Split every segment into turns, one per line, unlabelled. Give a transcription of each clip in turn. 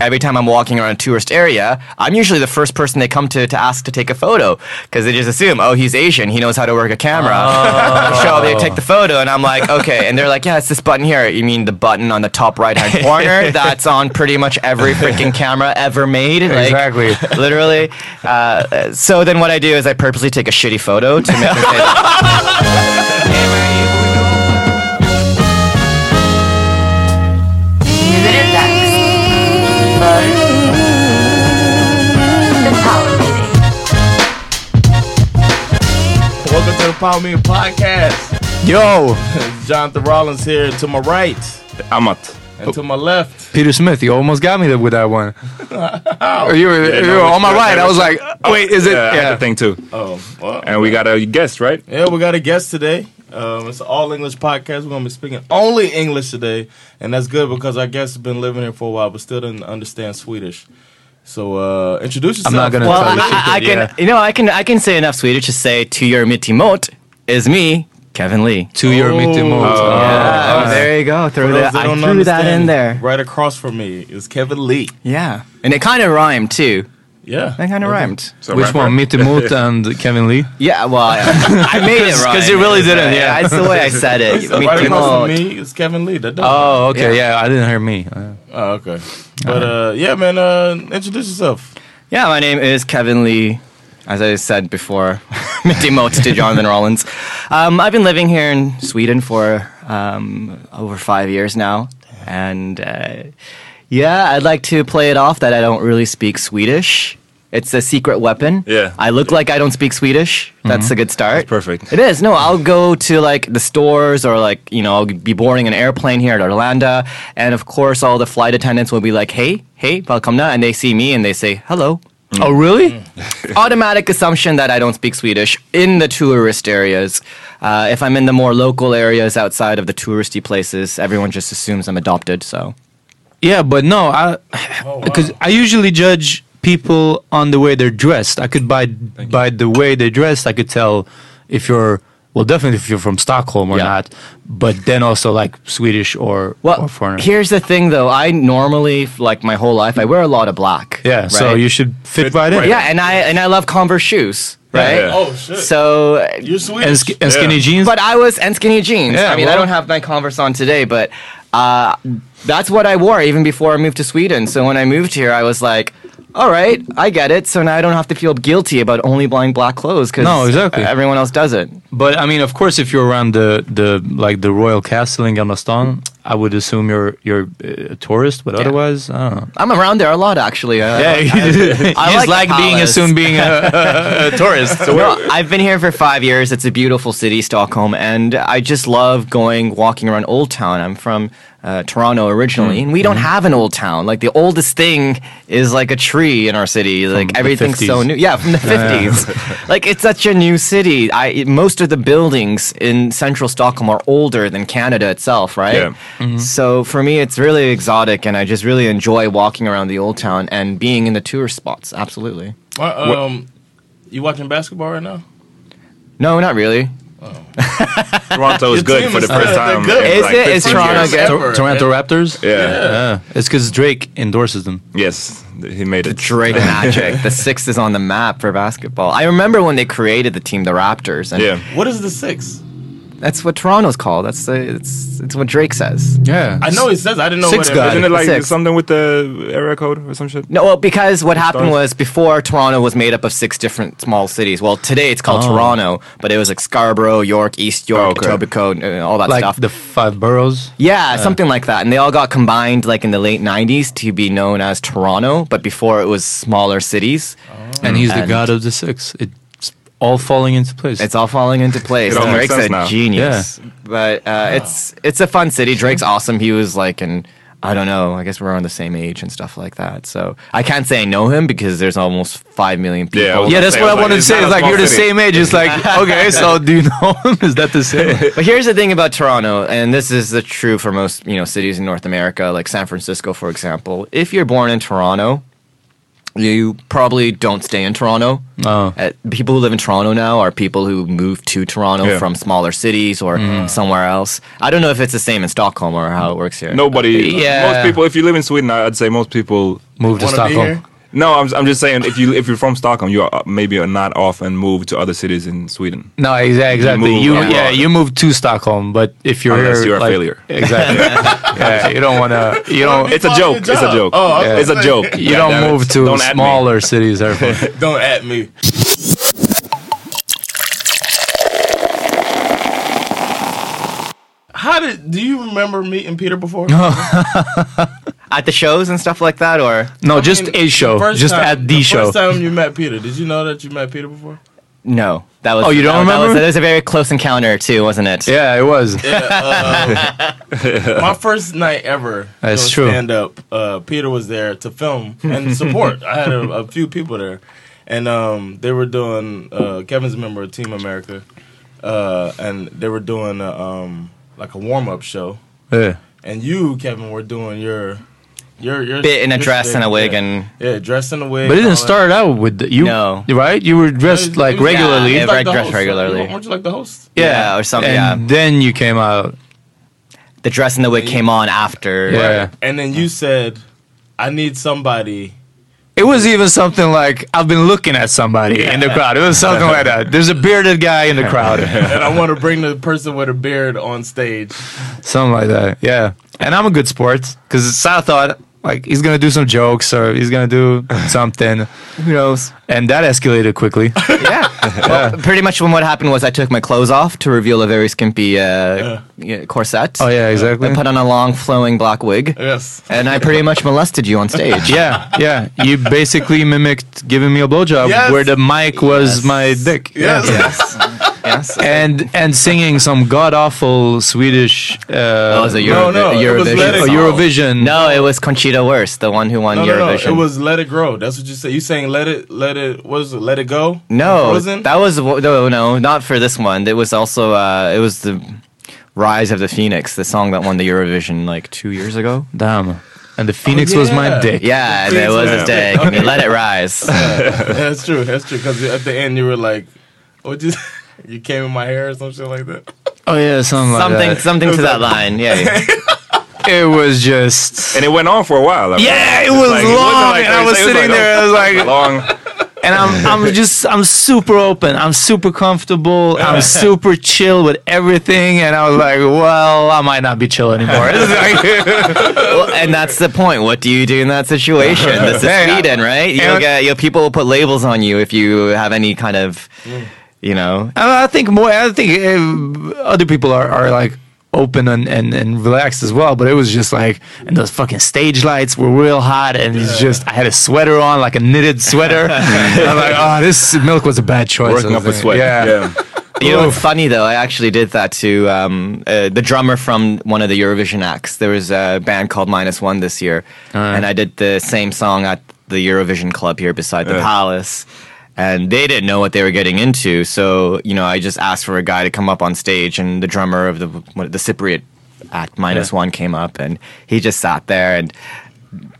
every time I'm walking around a tourist area, I'm usually the first person they come to to ask to take a photo because they just assume, oh, he's Asian, he knows how to work a camera.
Oh.
so they take the photo, and I'm like, okay, and they're like, yeah, it's this button here. You mean the button on the top right hand corner that's on pretty much every freaking camera ever made? Like,
Exactly.
literally. Uh, Uh, so then what I do is I purposely take a shitty photo to make them say,
Nu är det dags för The Power Meeting.
Welcome to the Power Meeting Podcast.
Yo!
Jonathan Rollins here to my right
Amat.
and to my left.
Peter Smith, you almost got me with that one. you were,
Oh. Yeah,
you
no,
were on my
it's-
right. I was like, wait, is it?
Yeah, I had
Yeah.
to think too.
Oh, well,
And we got a guest, right?
Yeah, we got a guest today. Um, it's an all English podcast. We're gonna be speaking only English today, and that's good because our guest has been living here for a while, but still doesn't understand Swedish. So uh, introduce yourself.
I'm not gonna
Well,
tell you.
I, I- I can,
Yeah.
you know, I can, I can say enough Swedish to say to your mittimot is me, Kevin Lee. uh,
To your Oh. meeting mode. Ah.
Yeah, there you go. Throw
For those
that,
that
I
don't
threw that in
understand,
there.
Right across from me is Kevin Lee.
Yeah, and it kind of rhymed too.
Yeah,
That kind of rhymed.
Which one? Mitty Moot and Kevin Lee?
Yeah, well, I, I made it rhyme.
because you really didn't, yeah.
that's the way I said it.
Right across from
Mittimot.
me is Kevin Lee. That does.
Oh, okay. Yeah, I didn't hear me. Uh,
oh, okay. But uh, yeah, man, uh, introduce yourself.
Yeah, my name is Kevin Lee. As I said before, demotes to Jonathan Rollins. Um, I've been living here in Sweden for um, over five years now, and uh, yeah, I'd like to play it off that I don't really speak Swedish. It's a secret weapon.
Yeah. Mm-hmm.
I look like I don't speak Swedish. That's a good start.
perfect.
It is. No, I'll go to like the stores or like, you know, I'll be boarding an airplane here at Orlando. And of course, all the flight attendants will be like, hey, hey, välkomna. And they see me and they say, hello.
Mm.
Oh, really? Automatic assumption that I don't speak Swedish in the tourist areas. Uh, if I'm in the more local areas outside of the touristy places, everyone just assumes I'm adopted. So
Oh,
Yeah, but no, I because I usually judge people on the way they're dressed. I could by by the way they're dressed, I could tell if you're well, definitely if you're from Stockholm or not. But then also like Swedish or or
Well,
foreigner.
here's the thing though. I normally, f- like my whole life, I wear a lot of black.
yeah, so
right.
you should fit right in.
Yeah, and I and I love Converse shoes, right?
yeah.
Oh, shit.
So, uh,
You're Swedish.
and, sk- and skinny
Yeah.
jeans.
but I was and skinny jeans.
Yeah,
I mean, I
well-
don't have my Converse on today, but uh, that's what I wore even before I moved to Sweden. So when I moved here, I was like, all right, I get it. So now I don't have to feel guilty about only buying black clothes because
No, exactly.
everyone else does it.
But I mean, of course, if you're around the, the like the royal castle in Gamlastan, I would assume you're you're uh, a tourist. But otherwise, I don't know.
I'm around there a lot actually. Uh,
Yeah, you
I
just
like
like,
the
being
palace.
assumed being a, a tourist. So
No, I've been here for five years. It's a beautiful city, Stockholm, and I just love going walking around Old Town. I'm from uh, Toronto
Mm-hmm.
originally, and we don't have an old town. Like the oldest thing is like a tree in our city. Like
the
everything's so
50s.
new. Yeah, from the fifties. like it's such a new city. I it- most of the buildings in central Stockholm are older than Canada itself, right?
Yeah.
So for me, it's really exotic, and I just really enjoy walking around the old town and being in the tourist spots. Absolutely.
Um, you watching basketball right now?
No, not really.
Toronto is good for the first time.
good.
in,
Is it? Is
It's
Toronto good?
Tor- Oh, Toronto Raptors.
Yeah.
Yeah, it's because Drake endorses them.
Yes, th- he made it.
Drake magic. The six is on the map for basketball. I remember when they created the team, the Raptors, and
Yeah.
What is the six?
that's what Toronto's called. That's the it's it's what Drake says.
Yeah,
I know he says I didn't know
Six
what
guy.
Isn't it like
Six.
something with the area code or some shit?
No, well, because what happened
stars.
was before Toronto was made up of six different small cities. Well, today it's called Toronto, but it was like Scarborough, York, East York,
Oh. okay.
Etobicoke, and, uh, all that
like
stuff.
the five boroughs.
yeah, something like that. And they all got combined like in the late '90s to be known as Toronto, but before it was smaller cities.
and he's the
And-
god of the six. It's all falling into place.
It's all falling into place.
It all makes
Drake's
sense
a
now.
genius. But uh, it's it's a fun city. Drake's awesome. He was like an I don't know. I guess we're on the same age and stuff like that. So I can't say I know him because there's almost five million people.
Yeah, I was
yeah,
gonna
that's
say,
what I
like,
wanted to
it's
say.
not
It's
a
like
small
you're the
city.
same age. It's like okay, so do you know him? Is that the same?
But here's the thing about Toronto, and this is the true for most you know cities in North America, like San Francisco, for example. If you're born in Toronto, you probably don't stay in Toronto.
No.
Uh, people who live in Toronto now are people who move to Toronto
Yeah.
from smaller cities or
Mm-hmm.
somewhere else. I don't know if it's the same in Stockholm or how it works here.
Nobody.
Yeah.
Most people, if you live in Sweden, I- I'd say most people.
Move to
Wanna be here?
Stockholm.
No, I'm, I'm just saying if you if you're from Stockholm, you are uh, maybe are not often moved to other cities in Sweden.
No, exa- exactly.
move
You,
abroad.
yeah, you move to Stockholm, but if you're
Unless
here,
you're a
like-
failure.
exactly. yeah, you don't want to. You don't.
It's a joke. It's a joke.
Oh, okay.
it's a joke.
you
God
don't
damn it.
move to
Don't at me.
smaller cities. Therefore,
Don't at me. How did do you remember meeting Peter before?
at the shows and stuff like that, or
no, just a show,
First
just
time-
at the, show.
First time you met Peter, did you know that you met Peter before?
no, that was
Oh, you don't
that, That was,
remember?
that was a very close encounter too, wasn't it?
Yeah, it was.
My first night ever.
That's
doing
true.
Stand up. Uh, Peter was there to film and support. I had a, a few people there, and um, they were doing. Uh, Kevin's a member of Team America, uh, and they were doing a, um, like a warm up show.
Yeah.
And you, Kevin, were doing your your your
Bit in a
your
dress
shtick,
and a wig
yeah.
and-
yeah, dress and a wig.
But it
and all
didn't
that.
start out with the, you,
No.
right? You were
It was-
dressed
it
like
was-
regularly.
it
Yeah,
was like
yeah,
the
dressed
host.
regularly.
Weren't you like the host?
Yeah, or something,
And
yeah.
then you came out.
The dress and the wig came on after.
Yeah.
And then you said, "I need somebody."
It was even something like I've been looking at somebody in the crowd. It was something like that. There's a bearded guy in the crowd,
and I want to bring the person with a beard on stage.
something like that. Yeah, and I'm a good sport because I thought like he's gonna do some jokes or he's gonna do something,
Who knows?
and that escalated quickly.
yeah. Well, pretty much when what happened was I took my clothes off to reveal a very skimpy uh, yeah, corset.
Oh yeah, exactly.
I put on a long flowing black wig.
Yes.
And I pretty much molested you on stage.
Yeah, yeah. You basically mimicked giving me a blowjob
Yes.
where the mic was
Yes.
my dick.
Yes.
Yes.
And and singing some god awful Swedish uh,
That was a
No,
Euro-
no, it was
Eurovision.
Let It
oh,
song.
Go.
Eurovision.
No, it was Conchita Wurst, the one who won
No, no, no.
Eurovision.
It was "Let It Grow." That's what you said. You saying "Let It, Let It." What is it? "Let It Go."
No,
Frozen?
that was no, no, not for this one. It was also uh, it was the Rise of the Phoenix, the song that won the Eurovision like two years ago.
Damn. and the phoenix was my
yeah.
dick.
Yeah,
there was
his dick, and you let it rise.
that's true. That's true. Because at the end, you were like, "What you? You came in my hair or some shit like that."
Oh yeah, something like
Something-
that.
something to that line. Yeah.
it was just,
and it went on for a while. I mean,
Yeah, it
it's
was
it wasn't
long, and I
30
was
seconds,
sitting
like,
there, I was like-
long.
and I'm I'm just I'm super open. I'm super comfortable. I'm super chill with everything. And I was like, well, I might not be chill anymore. It's
well, and that's the point. What do you do in that situation? This is
Hey,
Sweden, right? You'll
and-
get, you people will put labels on you if you have any kind of,
Mm.
you know.
I I think more. I think uh, other people are, are like open and, and, and relaxed as well. But it was just like, and those fucking stage lights were real hot, and it's just I had a sweater on, like a knitted sweater. And I'm like, oh, this milk was a bad choice. I was like, Yeah.
You know, funny though, I actually did that to um, uh, the drummer from one of the Eurovision acts. There was a band called Minus One this year,
Oh,
and I did the same song at the Eurovision club here beside the
Yeah.
palace. And they didn't know what they were getting into, so you know, I just asked for a guy to come up on stage, and the drummer of the what, the Cypriot act Minus
Yeah.
One came up, and he just sat there and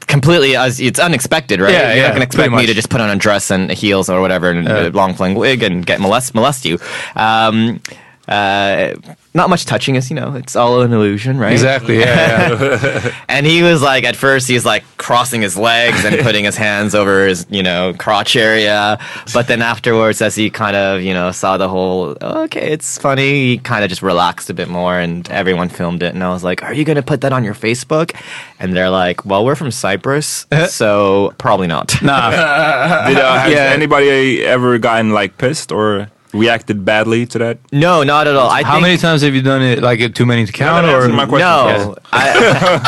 completely as it's unexpected, right?
Yeah,
You're
yeah,
not gonna expect
pretty
me to
much.
just put on a dress and heels or whatever and a long flowing wig and get molest molest you. Um, uh, not much touching is, you know, it's all an illusion, right?
Exactly, yeah,
and he was like, at first, he's like crossing his legs and putting his hands over his, you know, crotch area. But then afterwards, as he kind of, you know, saw the whole, okay, it's funny, he kind of just relaxed a bit more and everyone filmed it. And I was like, are you going to put that on your Facebook? And they're like, well, we're from Cyprus,
Uh-huh.
so probably not.
Did, uh, has
Yeah.
anybody ever gotten like pissed or reacted badly to that?
No, not at all. I
How
think-
many times have you done it? Like too many to count, or
answered my question.
No,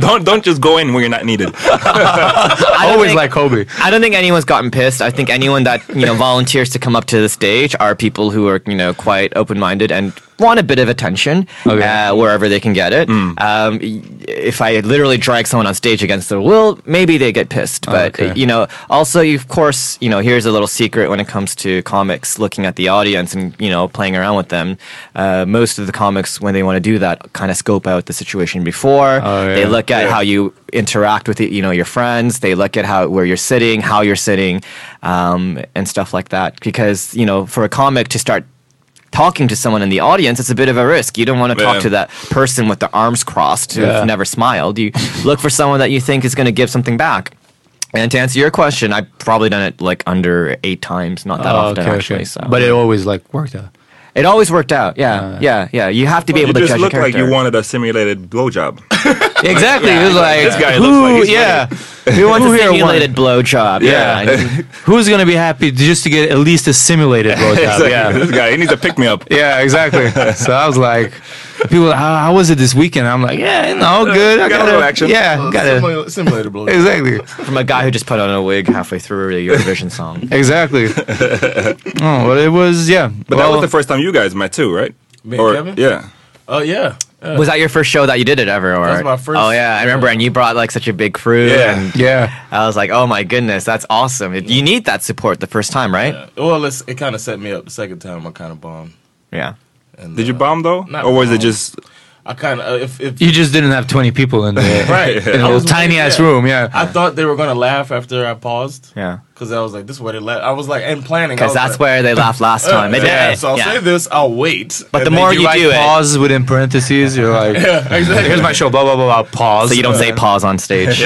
don't don't just go in when you're not needed.
always like Kobe.
I don't think anyone's gotten pissed. I think anyone that you know volunteers to come up to the stage are people who are you know quite open minded and want a bit of attention uh, wherever they can get it.
Mm.
Um, y- if I literally drag someone on stage against their will, maybe they get pissed.
Oh,
But
Okay.
you know, also you- of course you know here's a little secret when it comes to comics: looking at the audience and you know playing around with them. Uh, most of the comics when they want to do that, kind of scope out the situation before.
Oh,
They
yeah.
look at
Yeah.
how you interact with you know your friends. They look at how where you're sitting, how you're sitting, um, and stuff like that. Because you know, for a comic to start talking to someone in the audience, it's a bit of a risk. You don't want to talk
Yeah.
to that person with their arms crossed who's
Yeah.
never smiled. You look for someone that you think is going to give something back. And to answer your question, I've probably done it like under eight times, not that
Oh,
often
okay,
actually.
okay.
So.
But it always like worked out.
It always worked out. Yeah, yeah, yeah. You have to be
you
able to
just
judge
look
your
like
character.
you wanted a simulated blowjob.
Exactly. it was like,
this guy
who,
looks like he's
yeah. Who wants
Who
a
here
simulated blowjob? Yeah. yeah.
Who's gonna be happy just to get at least a simulated blowjob?
Exactly.
Yeah.
This guy, he needs a pick me up.
Yeah, exactly. so I was like, people, how, how was it this weekend? I'm like, yeah, you
Uh,
know, good. I
Got a little action.
Yeah, got it.
Simula- simulator blue.
Exactly,
From a guy who just put on a wig halfway through the Eurovision song.
exactly. oh, well, it was yeah.
But that
well,
was the first time you guys met too, right?
Me and Kevin?
Yeah.
Oh yeah. yeah.
Was that your first show that you did it ever? Or?
was my first-
Oh yeah, I remember. And you brought like such a big crew.
Yeah.
And
yeah.
I was like, oh my goodness, that's awesome. It- You need that support the first time, right? Yeah.
Well, it's, it kind of set me up. The second time, I kind of bombed. And,
Did you
uh,
bomb though,
not
or was it
bomb.
just?
I kind of if if
You just didn't have 20 people in there. In
right
a
I
little
was-
tiny ass
yeah.
room, yeah.
I thought they were gonna laugh after I paused.
Yeah.
Because I was like, this is where they laugh. I was like, and planning. I
Because
was
that's
like,
where they laughed
Uh,
last time. They did
Yeah,
it.
so I'll
Yeah.
say this. I'll wait.
But the
And then
more
you-
you,
like
do it,
pause within parentheses. You're like,
exactly.
here's my show. Blah blah blah. blah pause.
so you don't say pause on stage.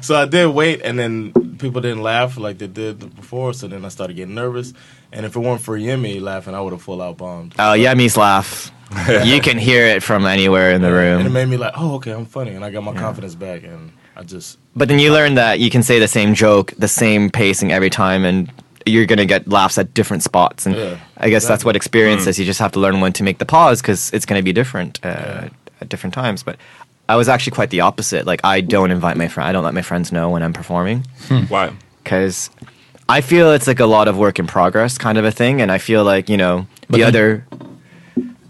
So I did wait, and then people didn't laugh like they did before. So then I started getting nervous. And if it weren't for Yemi laughing, I would have full out bombed.
Oh, Yemi's laugh. you can hear it from anywhere in the
And it
room.
made me like, oh, okay, I'm funny, and I got my confidence back, and I just
But then you learn that you can say the same joke, the same pacing every time, and you're going to get laughs at different spots. And
Yeah,
I guess that's what experience is. You just have to learn when to make the pause because it's going to be different uh, at different times. But I was actually quite the opposite. Like, I don't invite my friend, I don't let my friends know when I'm performing
Why?
because I feel it's like a lot of work in progress kind of a thing, and I feel like you know the
then-
other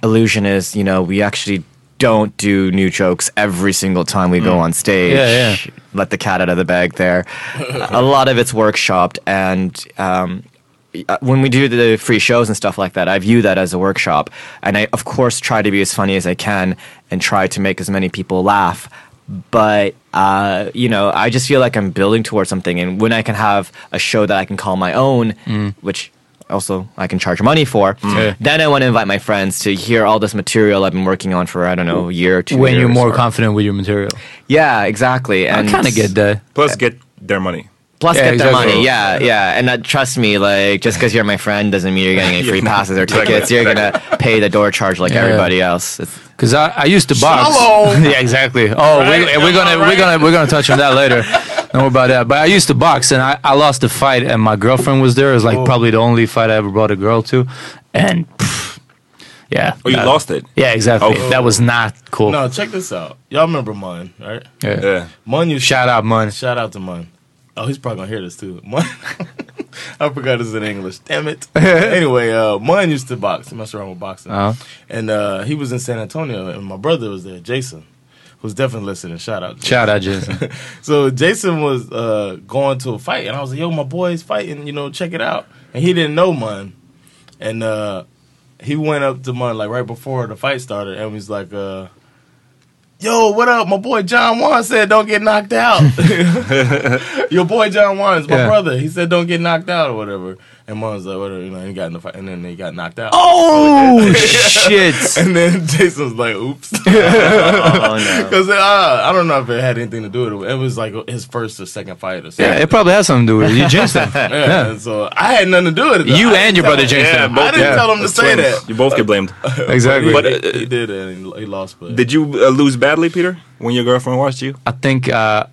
illusion is you know we actually don't do new jokes every single time we go on stage.
Mm. Yeah, yeah.
Let the cat out of the bag there. a lot of it's workshopped, and um, uh, when we do the free shows and stuff like that, I view that as a workshop, and I of course try to be as funny as I can and try to make as many people laugh. but uh, you know, I just feel like I'm building towards something, and when I can have a show that I can call my own, which also I can charge money for,
Mm. Yeah.
then I want to invite my friends to hear all this material I've been working on for I don't know a year or two.
when you're
years
more
or-
confident with your material.
yeah, exactly.
I
And
kinda get that.
Plus, get their money. Plus,
Yeah,
get their
exactly.
money. Yeah, yeah. And uh, trust me, like just because you're my friend doesn't mean you're getting any free passes or
Exactly.
tickets. You're gonna pay the door charge like
Yeah.
everybody else. It's,
Because I, I used to box.
Shallow.
yeah, exactly. Oh, we, and we're gonna we're gonna we're gonna touch on that later. Don't worry about that. But I used to box, and I, I lost a fight, and my girlfriend was there. It was like
Oh.
probably the only fight I ever brought a girl to, and pff, yeah.
Oh, you
that-
lost it?
Yeah, exactly.
Oh.
That was not cool.
No, check this out. Y'all remember Mun, right?
Yeah.
Mun used
shout out Mun.
Shout out to Mun. Oh, he's probably gonna hear this too. Mun I forgot it's in English. Damn it. anyway, uh Mun used to box. He messed around with boxing.
Uh-huh.
And uh he was in San Antonio and my brother was there, Jason, who's definitely listening. Shout out to
Shout out Jason.
so Jason was uh, going to a fight, and I was like, "Yo, my boy's fighting. You know, check it out." And he didn't know Mun, and uh, he went up to Mun like right before the fight started, and was like, uh, "Yo, what up? My boy John Wan said don't get knocked out. Your boy John Wan is my
Yeah.
brother. He said don't get knocked out or whatever." And Mun's like, "Whatever." You know, he got in the fight, and then they got knocked out.
Oh shit!
And then Jason was like, "Oops."
Oh,
Because uh, I don't know if it had anything to do with it. It was like his first or second fight or something.
Yeah, it probably has something to do with it. You jinxed it.
yeah,
Yeah.
and So I had nothing to do with it. though.
You
I didn't
and your
tell
brother
him-
jinxed
yeah,
him.
I didn't
Yeah.
tell him to
It's
say
twins.
that.
You both get blamed.
Exactly.
But
But,
he,
uh,
he did, and he he lost. But
Did you uh, lose badly, Peter, when your girlfriend watched you?
I think uh,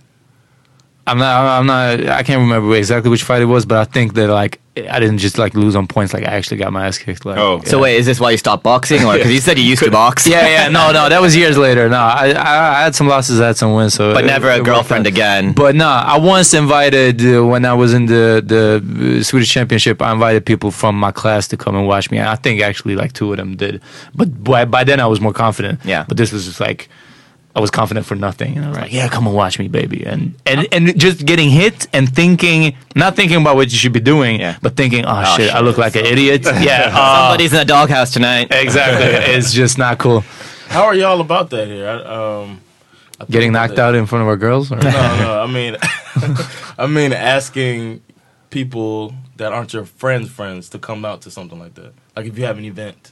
I'm not. I'm not. I can't remember exactly which fight it was, but I think that like I didn't just like lose on points. Like I actually got my ass kicked. Like,
oh, so wait, is this why you stopped boxing, or because you said you used to box?
Yeah, yeah. No, no. That was years later. No, I, I, I had some losses, I had some wins. So,
But never a
worked
girlfriend
out.
again.
Mm-hmm.
But no, I once invited uh, when I was in the the uh, Swedish Championship. I invited people from my class to come and watch me. And I think actually like two of them did. But by, by then I was more confident. Yeah. But this was just like. I was confident for nothing, and I was like, "Yeah, come and watch me, baby." And and and just getting hit and thinking, not thinking about what you should be doing, but thinking, "Oh, shit, I look like an idiot." Yeah, oh,
Somebody's in a doghouse tonight.
uh, Exactly. it's just not cool.
How are y'all about that here? I, um, I think
Getting
about
knocked
that.
out in front of our girls? Or?
No, no. I mean, I mean asking people that aren't your friends' friends to come out to something like that. Like if you have an event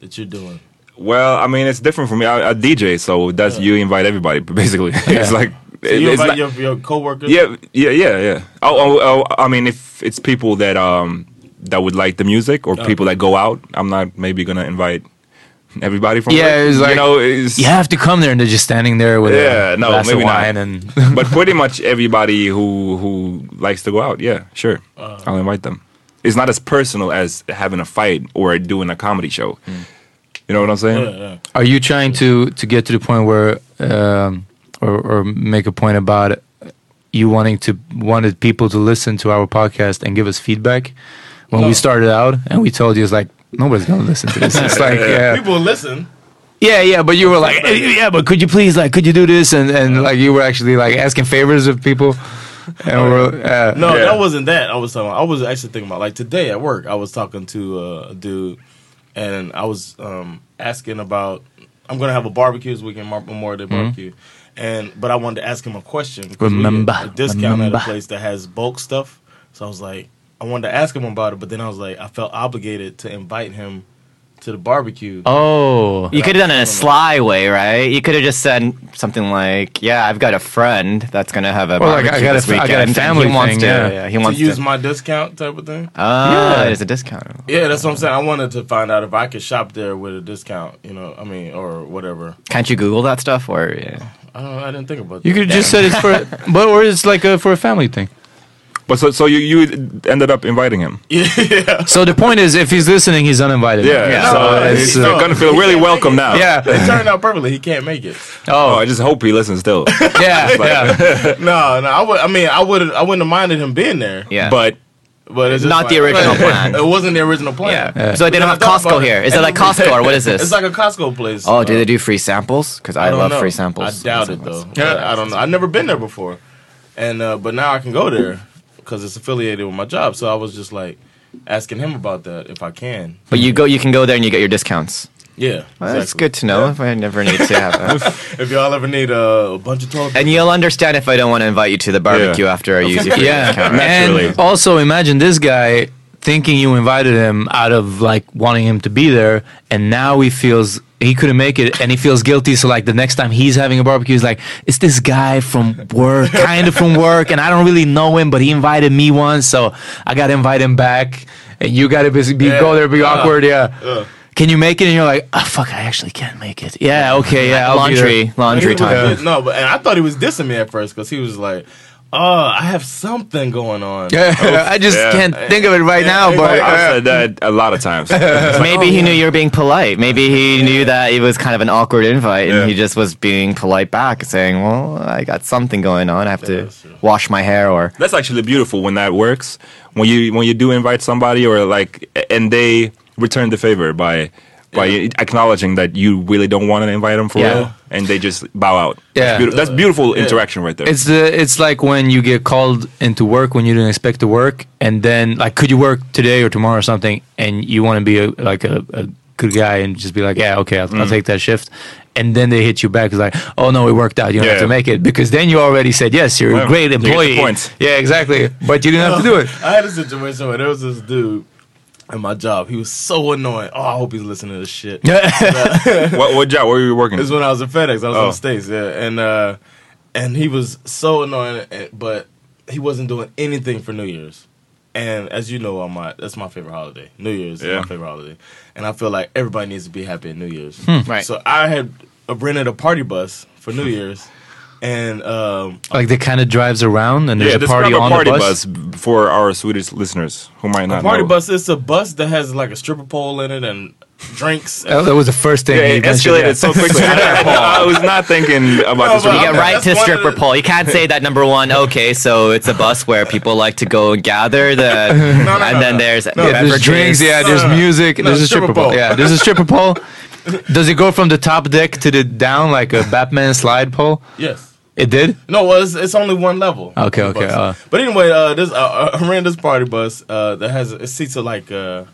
that you're doing.
Well, I mean, it's different for me. I, I DJ, so that's you invite everybody, basically. it's like
So
it-
you
it's not-
invite your, your coworkers.
Yeah, yeah, yeah, yeah. Oh, oh, oh, I mean, if it's people that um that would like the music or
Okay.
people that go out, I'm not maybe gonna invite everybody from.
yeah,
work.
it's like
you know, it's,
you have to come there, and they're just standing there with
yeah,
a
no,
glass
maybe
of wine
not.
and
but pretty much everybody who who likes to go out, yeah, sure,
Uh.
I'll invite them. It's not as personal as having a fight or doing a comedy show.
Hmm.
You know what I'm saying?
Are you trying to to get to the point where, um, or, or make a point about you wanting to wanted people to listen to our podcast and give us feedback when we started out, and we told you it's like nobody's gonna listen to this. It's like yeah,
people listen.
yeah, yeah. But you were like, "Eh, yeah, but could you please like could you do this and and like you were actually like asking favors of people, and we're uh,
No, that wasn't that I was talking about. I was actually thinking about like today at work. I was talking to uh, a dude, and I was um, asking about. I'm gonna have a barbecue this weekend, Mar- Memorial Day
Mhm.
barbecue, and but I wanted to ask him a question. 'cause we get
Remember,
a discount
remember.
at a place that has bulk stuff. So I was like, I wanted to ask him about it, but then I was like, I felt obligated to invite him to the barbecue.
Oh,
you could have done it in a sly way, right? You could have just said something like, "Yeah, I've got a friend that's gonna have a
Or like,
barbecue
I got a
this
f- I got
weekend.
a
and
family
he wants
thing,
to,
yeah.
he wants
to use
to."
my discount type of thing.
Ah,
Yeah.
there's a discount.
Yeah, that's what I'm saying. I wanted to find out if I could shop there with a discount, you know, I mean, or whatever.
Can't you Google that stuff? Or yeah.
I don't know. I didn't think about that.
you could just said it's for, but or it's like a, for a family thing.
But so so you you ended up inviting him.
So the point is, if he's listening, he's uninvited.
Yeah, so he's not gonna feel really welcome now.
Yeah.
It turned out perfectly. He can't make it.
Oh, I just hope he listens still.
yeah,
no, no. I would. I mean, I would. I wouldn't have minded him being there.
Yeah.
But
but it's just
Not the
like-
original plan.
It wasn't the original plan.
Yeah. So they don't
But then
have
I thought
Costco
about
here. Is it like
And-
Costco or what is this?
It's like a Costco place.
Oh, do they do free samples? Because I,
don't
love
know.
free samples.
I doubt it though. Yeah. I don't know. I've never been there before, and uh, but now I can go there because it's affiliated with my job. So I was just like asking him about that if I can.
But you go, you can go there and you get your discounts.
Yeah,
Well, That's good to know if I never need to have a
if y'all ever need uh, a bunch of toilet
And you'll understand if I don't want to invite you to the barbecue after I use it.
yeah.
naturally.
And also imagine this guy thinking you invited him out of like wanting him to be there and now he feels he couldn't make it and he feels guilty so like the next time he's having a barbecue he's like it's this guy from work kind of from work and i don't really know him but he invited me once so i gotta invite him back and you gotta be, be go there be
Yeah.
awkward yeah
Yeah.
can you make it and you're like oh fuck i actually can't make it yeah okay yeah I'll be there.
He was just- No, but and I thought he was dissing me at first because he was like, "Oh, I have something going on.
Yeah, I just can't think of it right now, but-
I've said that a lot of times. It's like,
Maybe he knew you were being polite. Maybe he knew that it was kind of an awkward invite, and he just was being polite back, saying, "Well, I got something going on. I have to wash my hair." Or
That's actually beautiful when that works. When you when you do invite somebody or like and they return the favor by by acknowledging that you really don't want to invite them for
Yeah.
real and they just bow out.
Yeah.
That's, beautiful. That's beautiful interaction right there.
It's the it's like when you get called into work when you didn't expect to work, and then like, could you work today or tomorrow or something? And you want to be a, like a, a good guy and just be like, yeah, okay, I'll, I'll
Mm.
take that shift. And then they hit you back it's like, oh no, it worked out. You don't have to
Yeah.
make it because then you already said yes. You're a
Well,
great
you get the
employee.
points.
Yeah, exactly. But you didn't have to do it.
I had a situation where there was this dude at my job. He was so annoying. Oh, I hope he's listening to this shit.
what, what job? Where were you working?
This is when I was at FedEx. I was on
Oh.
the States, yeah, and uh, and he was so annoying, eh, but he wasn't doing anything for New Year's. And as you know, on my that's my favorite holiday. New Year's
Yeah.
is my favorite holiday, and I feel like everybody needs to be happy at New Year's.
Hmm. Right.
So I had uh, rented a party bus for New Year's, and um,
Like that kind of drives around and there's
yeah,
a party
describe
on
a party
the
bus. for our Swedish listeners who might not
a party
know.
bus. It's a bus that has like a stripper pole in it and drinks.
Oh, that was the first thing
Yeah,
he
it
mentioned,
escalated
yeah.
so quickly. I, I- I was not thinking about
No,
this.
but
one.
you get right to
that's one of
stripper pole. You can't say that number one. Okay, so it's a bus where people like to go and gather the, and then there's
Yeah, there's
beverages.
drinks. Yeah, there's music. there's a stripper pole. Yeah, there's a stripper pole. Does it go from the top deck to the down like a Batman slide pole?
Yes.
It did.
No, well, it's, it's only one level.
Okay,
One
okay,
bus.
uh.
but anyway, uh, this uh, I ran this party bus uh, that has it seats of like uh,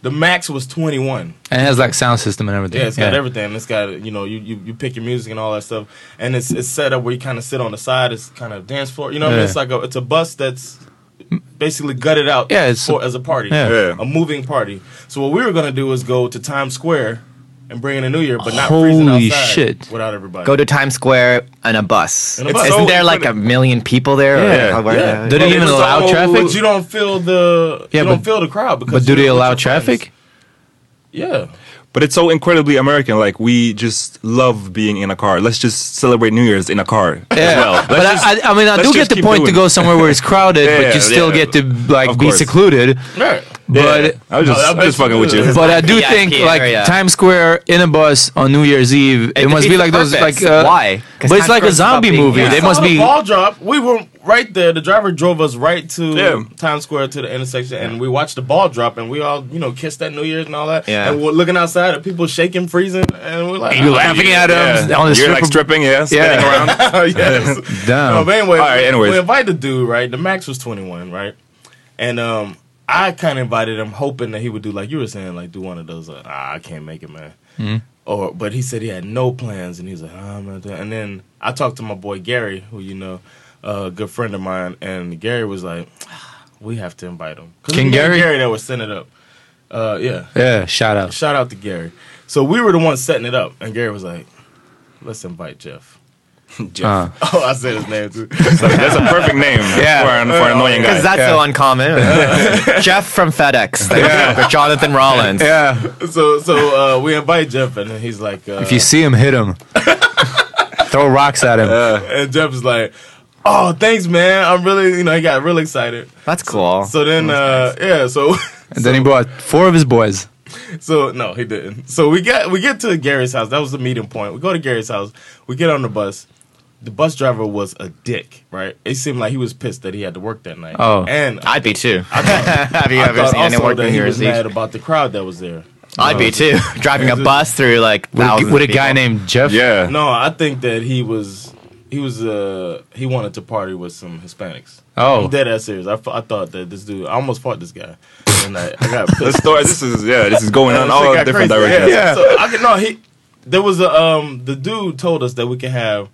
the max was twenty one.
And it has like sound system and everything.
Yeah, it's got everything. It's got you know you, you you pick your music and all that stuff, and it's it's set up where you kind of sit on the side. It's kind of dance floor. You know, what I mean?
Yeah.
it's like a it's a bus that's basically gutted out.
Yeah, it's-
for, as a party,
yeah. Yeah.
a moving party. So what we were gonna do is go to Times Square and bring in a New Year, but not freezing
Holy
outside
shit.
without everybody.
Go to Times Square on a bus.
In a bus. Oh,
Isn't
So
there like a million people there? Or how- where-
But it's all- But you don't feel the
Yeah,
you don't
but-
feel the crowd because
but do
you're
they
with
allow
your friends.
traffic?
Yeah.
But it's so incredibly American. Like we just love being in a car. Let's just celebrate New Year's in a car as
Yeah.
well. Let's
but
just-
I, I, I mean, I
let's
do
just
get the
keep
point to
doing
go
it.
somewhere where it's crowded,
Yeah,
but you still
yeah.
get to like
Of
be
course.
secluded.
Right.
But
I was just, I was just fucking with you.
But I do think like Times Square in a bus on New Year's Eve, it,
It
must be
defeats
like
the
those
purpose.
like uh,
Why? 'Cause
But it's
Times
like a
Square's
zombie
stopping-
movie.
yeah.
They
It's
must
Saw the
be
ball drop. We were right there. The driver drove us right to Times Square to the intersection, and we watched the ball drop, and we all you know kissed that New Year's and all that.
Yeah.
And we're looking outside at people shaking, freezing, and we're like,
And you're laughing at 'em Yeah. on the You're, like, stripper- stripping, yeah, spinning Yeah. around.
yes.
Damn.
No, but anyway,
All right, anyways.
we invited the dude. Right, the max was twenty one. Right, and um. I kind of invited him, hoping that he would do like you were saying, like do one of those. Like, ah, I can't make it, man.
Mm-hmm.
Or but he said he had no plans, and he's like, "Ah, I'm not doing. And then I talked to my boy Gary, who you know, a good friend of mine, and Gary was like, "Ah, "We have to invite him." 'Cause it
King
was me and
Gary?
Gary that was setting it up. Uh, yeah,
yeah. Shout out.
Shout out to Gary. So we were the ones setting it up, and Gary was like, "Let's invite Jeff."
Jeff.
Oh, I said his name too.
that's a perfect name for an- for an annoying guy.
Because that's so uncommon. Jeff from FedEx. Or Jonathan Rollins.
Yeah.
So so uh, we invite Jeff, and then he's like, uh,
if you see him, hit him. Throw rocks at him.
uh, and Jeff is like, "Oh, thanks, man. I'm really, you know, he got real excited."
That's cool.
So then, uh, yeah, so
and then he brought four of his boys.
so no, he didn't. So we got we get to Gary's house. That was the meeting point. We go to Gary's house. We get on the bus. The bus driver was a dick, right? It seemed like he was pissed that he had to work that night.
Oh.
and
I'd be too.
Have
you ever seen anyone work
that
in
he
New
was
Year's Eve?
mad about the crowd that was there?
I'd
Oh,
be too. Driving a bus through like
With a-
thousands
with a
of
guy
people.
named Jeff?
Yeah.
No, I think that he was he was uh he wanted to party with some Hispanics.
Oh.
I'm dead ass serious. I, f- I thought that this dude. I almost fought this guy, and I, I got pissed.
This story- this is- yeah, this is going
And
on
this
all
shit got
different
crazy.
directions. Yeah.
So I can no he. There was a um the dude told us that we could have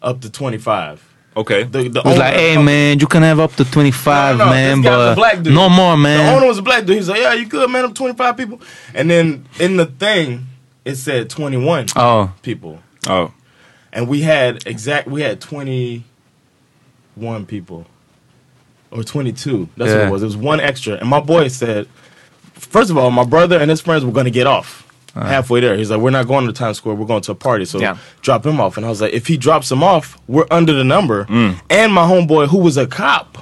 up to twenty five.
Okay.
The, the
It was like, hey man, you can have up to twenty five,
no,
man,
this guy was
but
a black dude.
no more,
The owner
man.
was a black dude. He's like, yeah, you good, man. I'm 25 people. And then in the thing, it said 21
Oh.
people.
Oh.
And we had exact, we had 21 people or 22. That's what
Yeah.
it was. It was one extra. And my boy said, first of all, my brother and his friends were going to get off. Halfway there, he's like, "We're not going to Times Square. We're going to a party. So
Uh-huh. Yeah.
drop him off." And I was like, "If he drops him off, we're under the number."
Mm.
And my homeboy, who was a cop,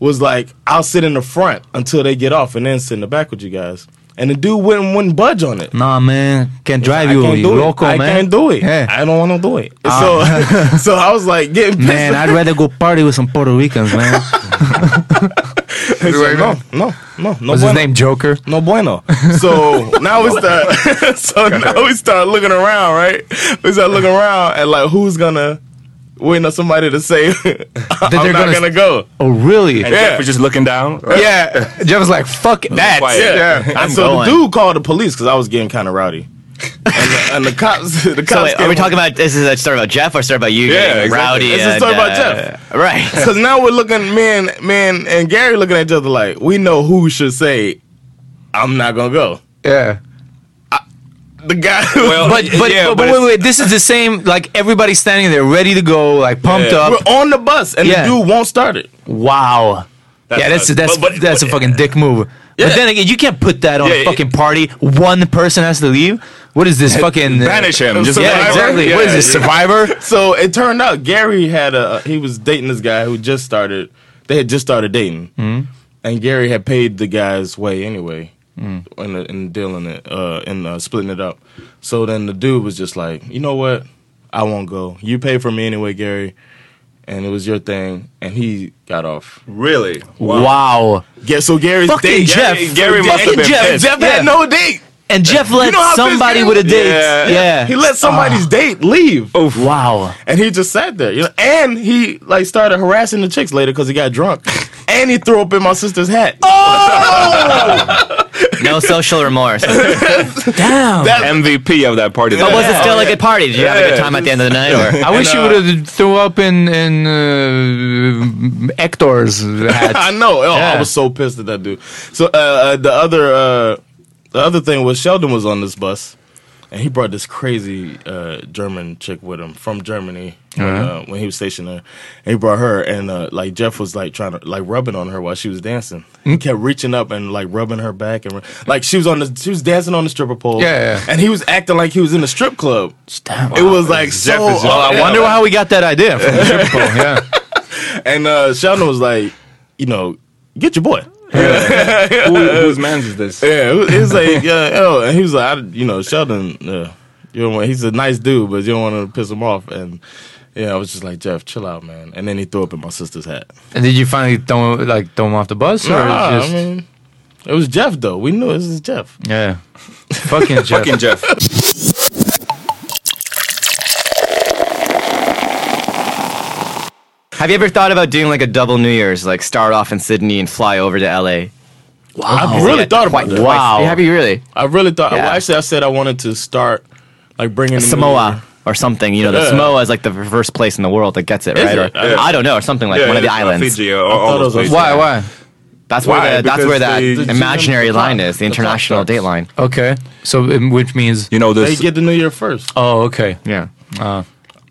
was like, I'll sit in the front until they get off and then sit in the back with you guys. And the dude wouldn't wouldn't budge on it.
Nah, man, can't drive
I
you,
can't
you
do
loco,
it. I
man.
can't do it.
Yeah. Ah.
I don't want to do it. So, so I was like getting pissed.
Man, I'd rather go party with some Puerto Ricans, man.
He's like, no, no, no, no.
What's
bueno.
his name? Joker.
No bueno. So now we start. so now we start looking around, right? We start looking around at like who's gonna wait on somebody to say I'm
they're
not
gonna-
gonna, go.
Oh, really?
And Jeff Yeah. was
just looking down.
Yeah.
Jeff was like, fuck that.
Yeah. And so the dude called the police because I was getting kind of rowdy. And the, and the cops, the cops.
So wait, are
came
we
up.
talking about this is a story about Jeff or a story about you
Yeah,
getting
exactly.
rowdy?
It's a
and,
story about
uh,
Jeff.
right?
Because now we're looking, me and, me and, and Gary looking at each other like, we know who should say, I'm not going to go.
Yeah.
The guy.
but but, but, but wait, wait, this is the same. Like everybody's standing there, ready to go, like pumped up.
We're on the bus, and
Yeah.
the dude won't start it.
Wow.
That's
yeah, that's
nuts.
that's
But- but-
that's a fucking dick move. But then again, you can't put that on
Yeah,
a
it-
fucking party. One person has to leave. What is this fucking? uh,
Banish him. Just
yeah,
Survivor?
exactly. what is this
Yeah, yeah.
survivor?
So it turned out Gary had a, he was dating this guy who just started, they had just started dating.
Hmm.
And Gary had paid the guy's way anyway.
Hmm.
in the, in dealing it uh in uh, splitting it up. So then the dude was just like, you know what, I won't go. You pay for me anyway, Gary, and it was your thing. And he got off.
Really?
Wow.
Yeah. So Gary's
Fucking
date,
Jeff.
Gary,
Fucking
must have been
Jeff.
pissed.
Jeff
Jeff
had
had no date.
And Jeff let
how pissed
somebody
he
with a
was?
date. Yeah. Ah.
he let somebody's date leave.
Oof.
Wow.
And he just sat there, you know. And he like started harassing the chicks later because he got drunk, and he threw up in my sister's hat.
Oh.
No social remorse.
Damn.
MVP of that party.
But was it still a good party? Did you have a good
Yeah.
time at the end of the night? Or
I wish you would
uh,
have threw up in in uh, Hector's hat.
I know. Oh,
Yeah.
I was so pissed at that dude. So uh, uh, the other uh, the other thing was Sheldon was on this bus, and he brought this crazy uh, German chick with him from Germany when, uh
Uh-huh.
when he was stationed there. And he brought her, and uh, like Jeff was like trying to like rubbing on her while she was dancing. He
Mm.
kept reaching up and like rubbing her back, and like she was on the she was dancing on the stripper pole.
Yeah, yeah.
and he was acting like he was in the strip club. It was like so.
Jeff is-
all-
Oh, I wonder how we got that idea from the strip club, Yeah.
And uh, Sheldon was like, you know, get your boy.
Who, whose man's is this?
Yeah, it was, it was like, uh, oh, and he was like, I, you know, Sheldon, uh, you don't want, he's a nice dude, but you don't want to piss him off. And yeah, I was just like, Jeff, chill out, man. And then he threw up in my sister's hat.
And did you finally throw like throw him off the bus or
Nah,
just
I mean, it was Jeff though. We knew this is Jeff.
yeah? Fucking Jeff.
Fucking Jeff.
have you ever thought about doing like a double New Year's, like start off in Sydney and fly over to Oh, LA?
I really thought about that.
Wow. Have you really?
I really thought.
Yeah.
Well, actually, I said I wanted to start like bringing the new
Samoa or something. You know, the
Yeah.
Samoa is like the first place in the world that gets it,
Is
right?
it?
Or,
Yeah.
I don't know, or something like
Yeah,
one of the
it's not
islands.
Fiji or all
thought it
those
was a-
places.
Why? Why?
That's
Why?
where the, that's
Because
where that
they- The
imaginary
the
line
clock-
is, the
the clock
international
starts.
date line.
Okay. So um, which means
You know
Year. They
this.
get the new year first.
oh okay.
Yeah.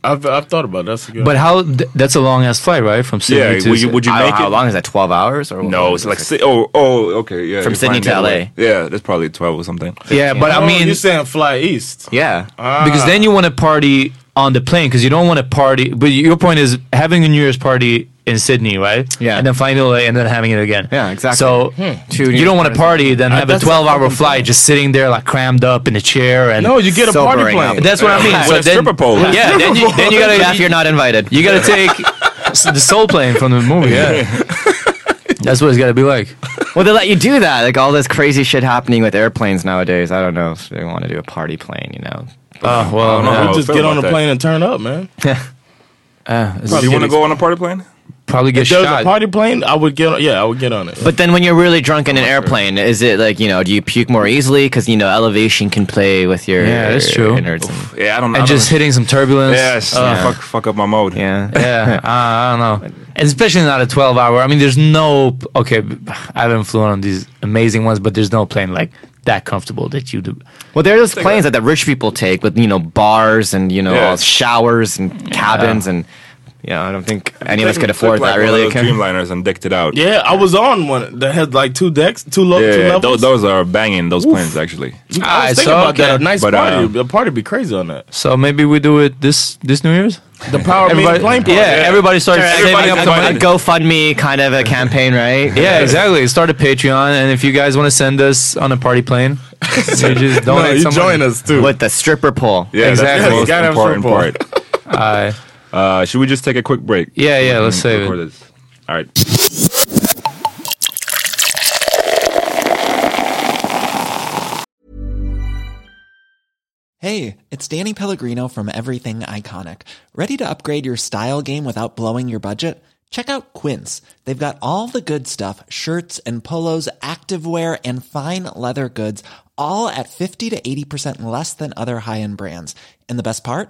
I've I've thought about it. that's a good.
But how? Th- that's a long ass flight, right? From Sydney
Yeah.
to
Would you, would you
I don't know,
make
how
it?
long is that? Twelve hours or
No, it's like si- oh oh okay yeah.
From
you're
Sydney
flying
to
the other
LA.
way. Yeah, that's probably twelve or something.
yeah, but I
Oh,
mean
you're saying fly east.
yeah.
Ah.
because then you want to party on the plane because you don't want to party. But your point is having a New Year's party in Sydney, right?
Yeah.
And then flying to LA and then having it again.
Yeah, exactly.
So
Hmm. Two New
you
Year's Uh,
don't want to party, then have a
that's a
twelve-hour
fucking
flight, just sitting there like crammed up in a chair and
No, you get a party
Sobering
plane.
up.
That's what I mean.
With
So
a
then-
stripper pole.
Yeah, then you, then you gotta
Jeff, you're not invited.
You gotta take s- the soul plane from the movie. Yeah, that's what it's gotta be like.
well, they let you do that. Like all this crazy shit happening with airplanes nowadays. I don't know if they want to do a party plane. You know.
Oh well,
I don't know.
yeah.
I
You
was
just
feeling
get on
like
a
that.
plane and turn up, man.
Uh,
Do you want to go on a party plane?
Probably
if there was a party plane, I would get. On, yeah, I would get on it.
But then when you're really drunk in an airplane, is it like, you know, do you puke more easily? Because, you know, elevation can play with your
Yeah, that's true.
innards.
Yeah, I don't.
and just hitting some turbulence. Oh,
Yes, fuck, fuck up my mode.
Yeah,
yeah. Uh, I don't know, and especially not a twelve-hour. I mean, there's no okay. I haven't flown on these amazing ones, but there's no plane like that comfortable that you do.
Well, there are those planes that the rich people take with, you know, bars and, you know,
Yeah.
all showers and cabins and, you know, I don't think any of us could afford that, really. Kim.
Dreamliners and decked it out.
Yeah, I was on one that had like two decks, two, lo-
Yeah,
two
tho-
levels.
those, are banging. Those planes actually.
I was thinking about that. A nice
But,
party.
um,
a party be crazy on that.
So maybe we do it this this New Year's.
The power
Everybody-
means plane party.
yeah, everybody starts saving up the
a
money.
GoFundMe kind of a campaign, right?
Yeah, exactly. Start a Patreon, and if you guys want to send us on a party plane, you just donate.
No, you
some
join
money.
us, too. With the stripper pole.
Yeah,
exactly.
That's the most important part.
uh,
should we just take a quick break?
Yeah, yeah, let's
say
save it.
This. All right.
Hey, it's Danny Pellegrino from Everything Iconic. Ready to upgrade your style game without blowing your budget? Check out Quince. They've got all the good stuff shirts and polos, activewear, and fine leather goods, all at 50 to 80% less than other high end brands. And the best part?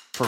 For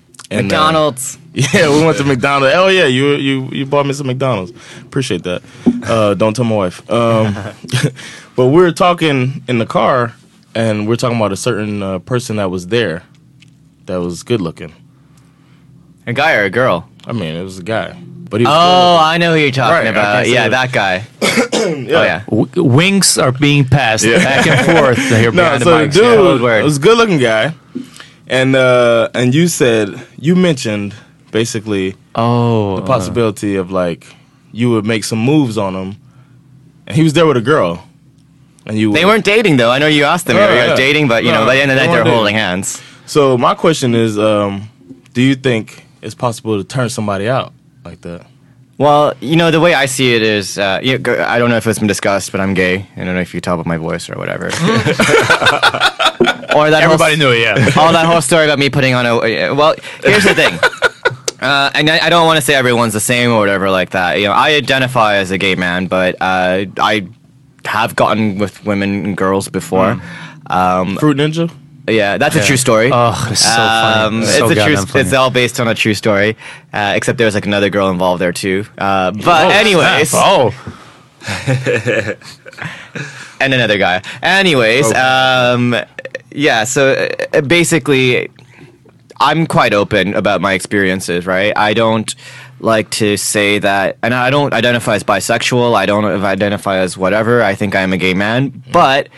uh,
McDonald's.
yeah, we went to McDonald's. Oh yeah, you you you bought me some McDonald's. Appreciate that. Uh, don't tell my wife. Um, but we were talking in the car, and we are talking about a certain uh, person that was there, that was good looking.
A guy or a girl?
I mean, it was a guy. But he was
Oh, I know who you're
Right,
talking
I
about.
can't say
Yeah,
it.
that guy.
Oh yeah.
W- winks are being passed back and forth here
no,
behind
so
the
the
mics.
dude
Code word.
was a good looking guy, and uh, and you said you mentioned basically
oh
Uh-huh.
the possibility of like you would make some moves on him, and he was there with a girl, and you
They weren't dating though. I know you asked them if they were dating, but you know, by the end of the night they're holding hands.
So my question is, um, do you think it's possible to turn somebody out like that?
Well, you know, the way I see it is, uh, you know, I don't know if it's been discussed, but I'm gay. I don't know if you tell by my voice or whatever. or that
Everybody
whole,
knew it, yeah.
all that whole story about me putting on a. Well, here's the thing. Uh, and I, I don't want to say everyone's the same or whatever like that. You know, I identify as a gay man, but uh, I have gotten with women and girls before. Um,
Fruit Ninja.
Yeah, that's
Mm. Yeah.
a true story.
Oh, it's so funny.
Um, it's
So
a true.
goddamn funny.
It's all based on a true story, uh, except there was like another girl involved there too. Uh, but
Oh,
anyways,
snap. Oh.
and another guy. Anyways, um, yeah. So uh, basically, I'm quite open about my experiences. Right, I don't like to say that, and I don't identify as bisexual. I don't identify as whatever. I think I am a gay man, but.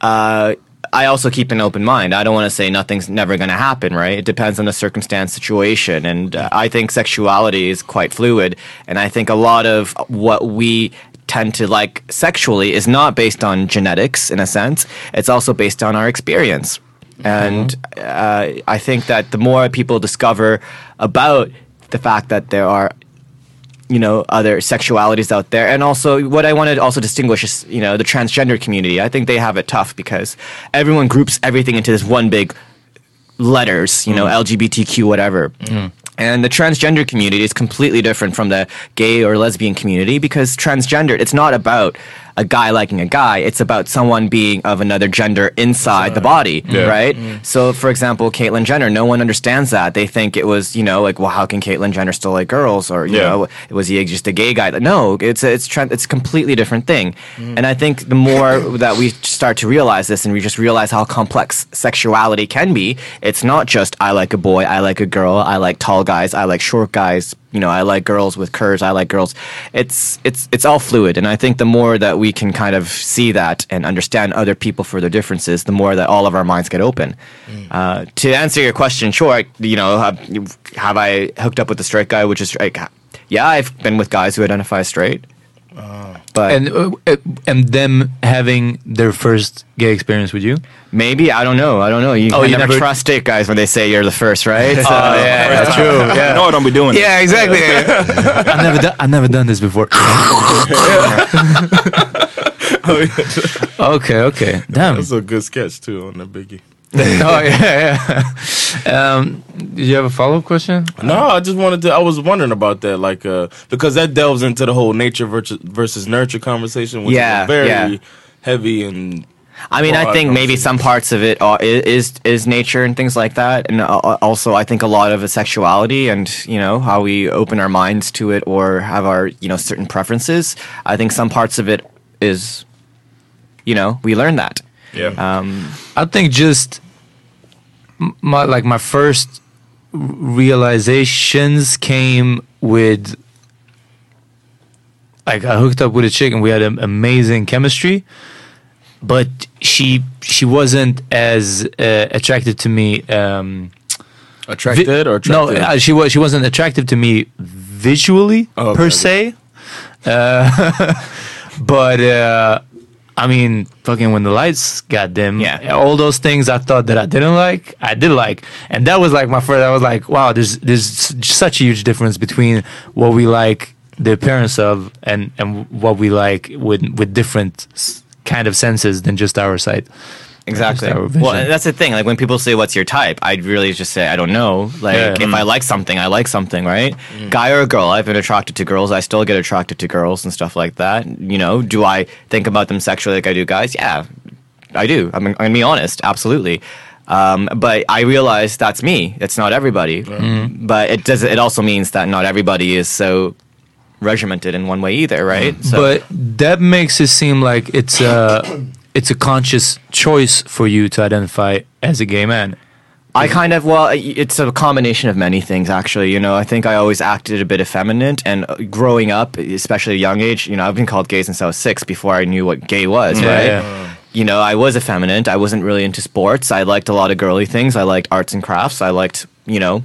Uh, I also keep an open mind. I don't want to say nothing's never going to happen, right? It depends on the circumstance, situation, and uh, I think sexuality is quite fluid. And I think a lot of what we tend to like sexually is not based on genetics, in a sense. It's also based on our experience, and uh, I think that the more people discover about the fact that there are you know other sexualities out there and also what i want to also distinguish is you know the transgender community i think they have it tough because everyone groups everything into this one big letters you know lgbtq whatever and the transgender community is completely different from the gay or lesbian community because transgender, it's not about a guy liking a guy, it's about someone being of another gender inside the body,
Yeah. Mm.
right? So, for example, Caitlyn Jenner, no one understands that. They think it was, you know, like, well, how can Caitlyn Jenner still like girls? Or, you
Yeah.
know, was he just a gay guy? No, it's a, it's, tran it's a completely different thing.
Mm.
And I think the more that we start to realize this and we just realize how complex sexuality can be, it's not just I like a boy, I like a girl, I like tall guys, I like short guys, you know, I like girls with curves, I like girls. It's it's it's all fluid and I think the more that we can kind of see that and understand other people for their differences, the more that all of our minds get open. Uh, to answer your question, sure, I, you know, have, have I hooked up with a straight guy, which is like yeah, I've been with guys who identify as straight. But
and uh, uh, and them having their first gay experience with you?
Maybe I don't know. I don't know. You
oh,
can
you
never,
never
trust it, guys, when they say you're the first, right?
Oh, yeah,
that's
true. Yeah.
No, I don't be doing it.
Yeah, exactly. I've never done. I've never done this before. okay, okay. Damn.
That's a good sketch too on the Biggie.
oh yeah, yeah. Um, did you have a follow up question?
No, I just wanted to. I was wondering about that, like, uh, because that delves into the whole nature versus, versus nurture conversation, which
Yeah,
is very
yeah.
heavy and.
I mean, I
broad
think maybe some parts of it are, i- is is nature and things like that, and al- also I think a lot of it sexuality and you know how we open our minds to it or have our you know certain preferences. I think some parts of it is, you know, we learn that.
Yeah.
Um,
I think just m- my like my first r- realizations came with like I hooked up with a chick and we had an amazing chemistry, but she she wasn't as uh, attractive to me. Um,
Attracted or attractive?
no? Uh, she was she wasn't attractive to me visually
okay,
per
okay.
se. Uh, but uh, I mean, fucking when the lights got dim, yeah. all those things I thought that I didn't like, I did like, and that was like my first. I was like, wow, there's there's s- such a huge difference between what we like the appearance of and and what we like with with different s- kind of senses than just our sight.
Exactly.
Just our
Well,
vision.
and that's the thing. Like when people say, "What's your type?" I'd really just say, "I don't know." Like
Yeah. Mm.
if I like something, I like something, right? Guy or girl, I've been attracted to girls. I still get attracted to girls and stuff like that. You know, do I think about them sexually like I do guys? Yeah, I do. I'm, I'm gonna be honest, absolutely. Um, but I realize that's me. It's not everybody. Mm-hmm.
Mhm.
But it does. It also means that not everybody is so regimented in one way either, right? So,
Mm. But that makes it seem like it's a it's a conscious choice for you to identify as a gay man.
I kind of well, i- it's a combination of many things actually. You know, I think I always acted a bit effeminate, and uh, growing up, especially at a young age, you know, I've been called gay since I was six before I knew what gay was,
Yeah,
right?
yeah.
You know, I was effeminate. I wasn't really into sports. I liked a lot of girly things. I liked arts and crafts. I liked, you know,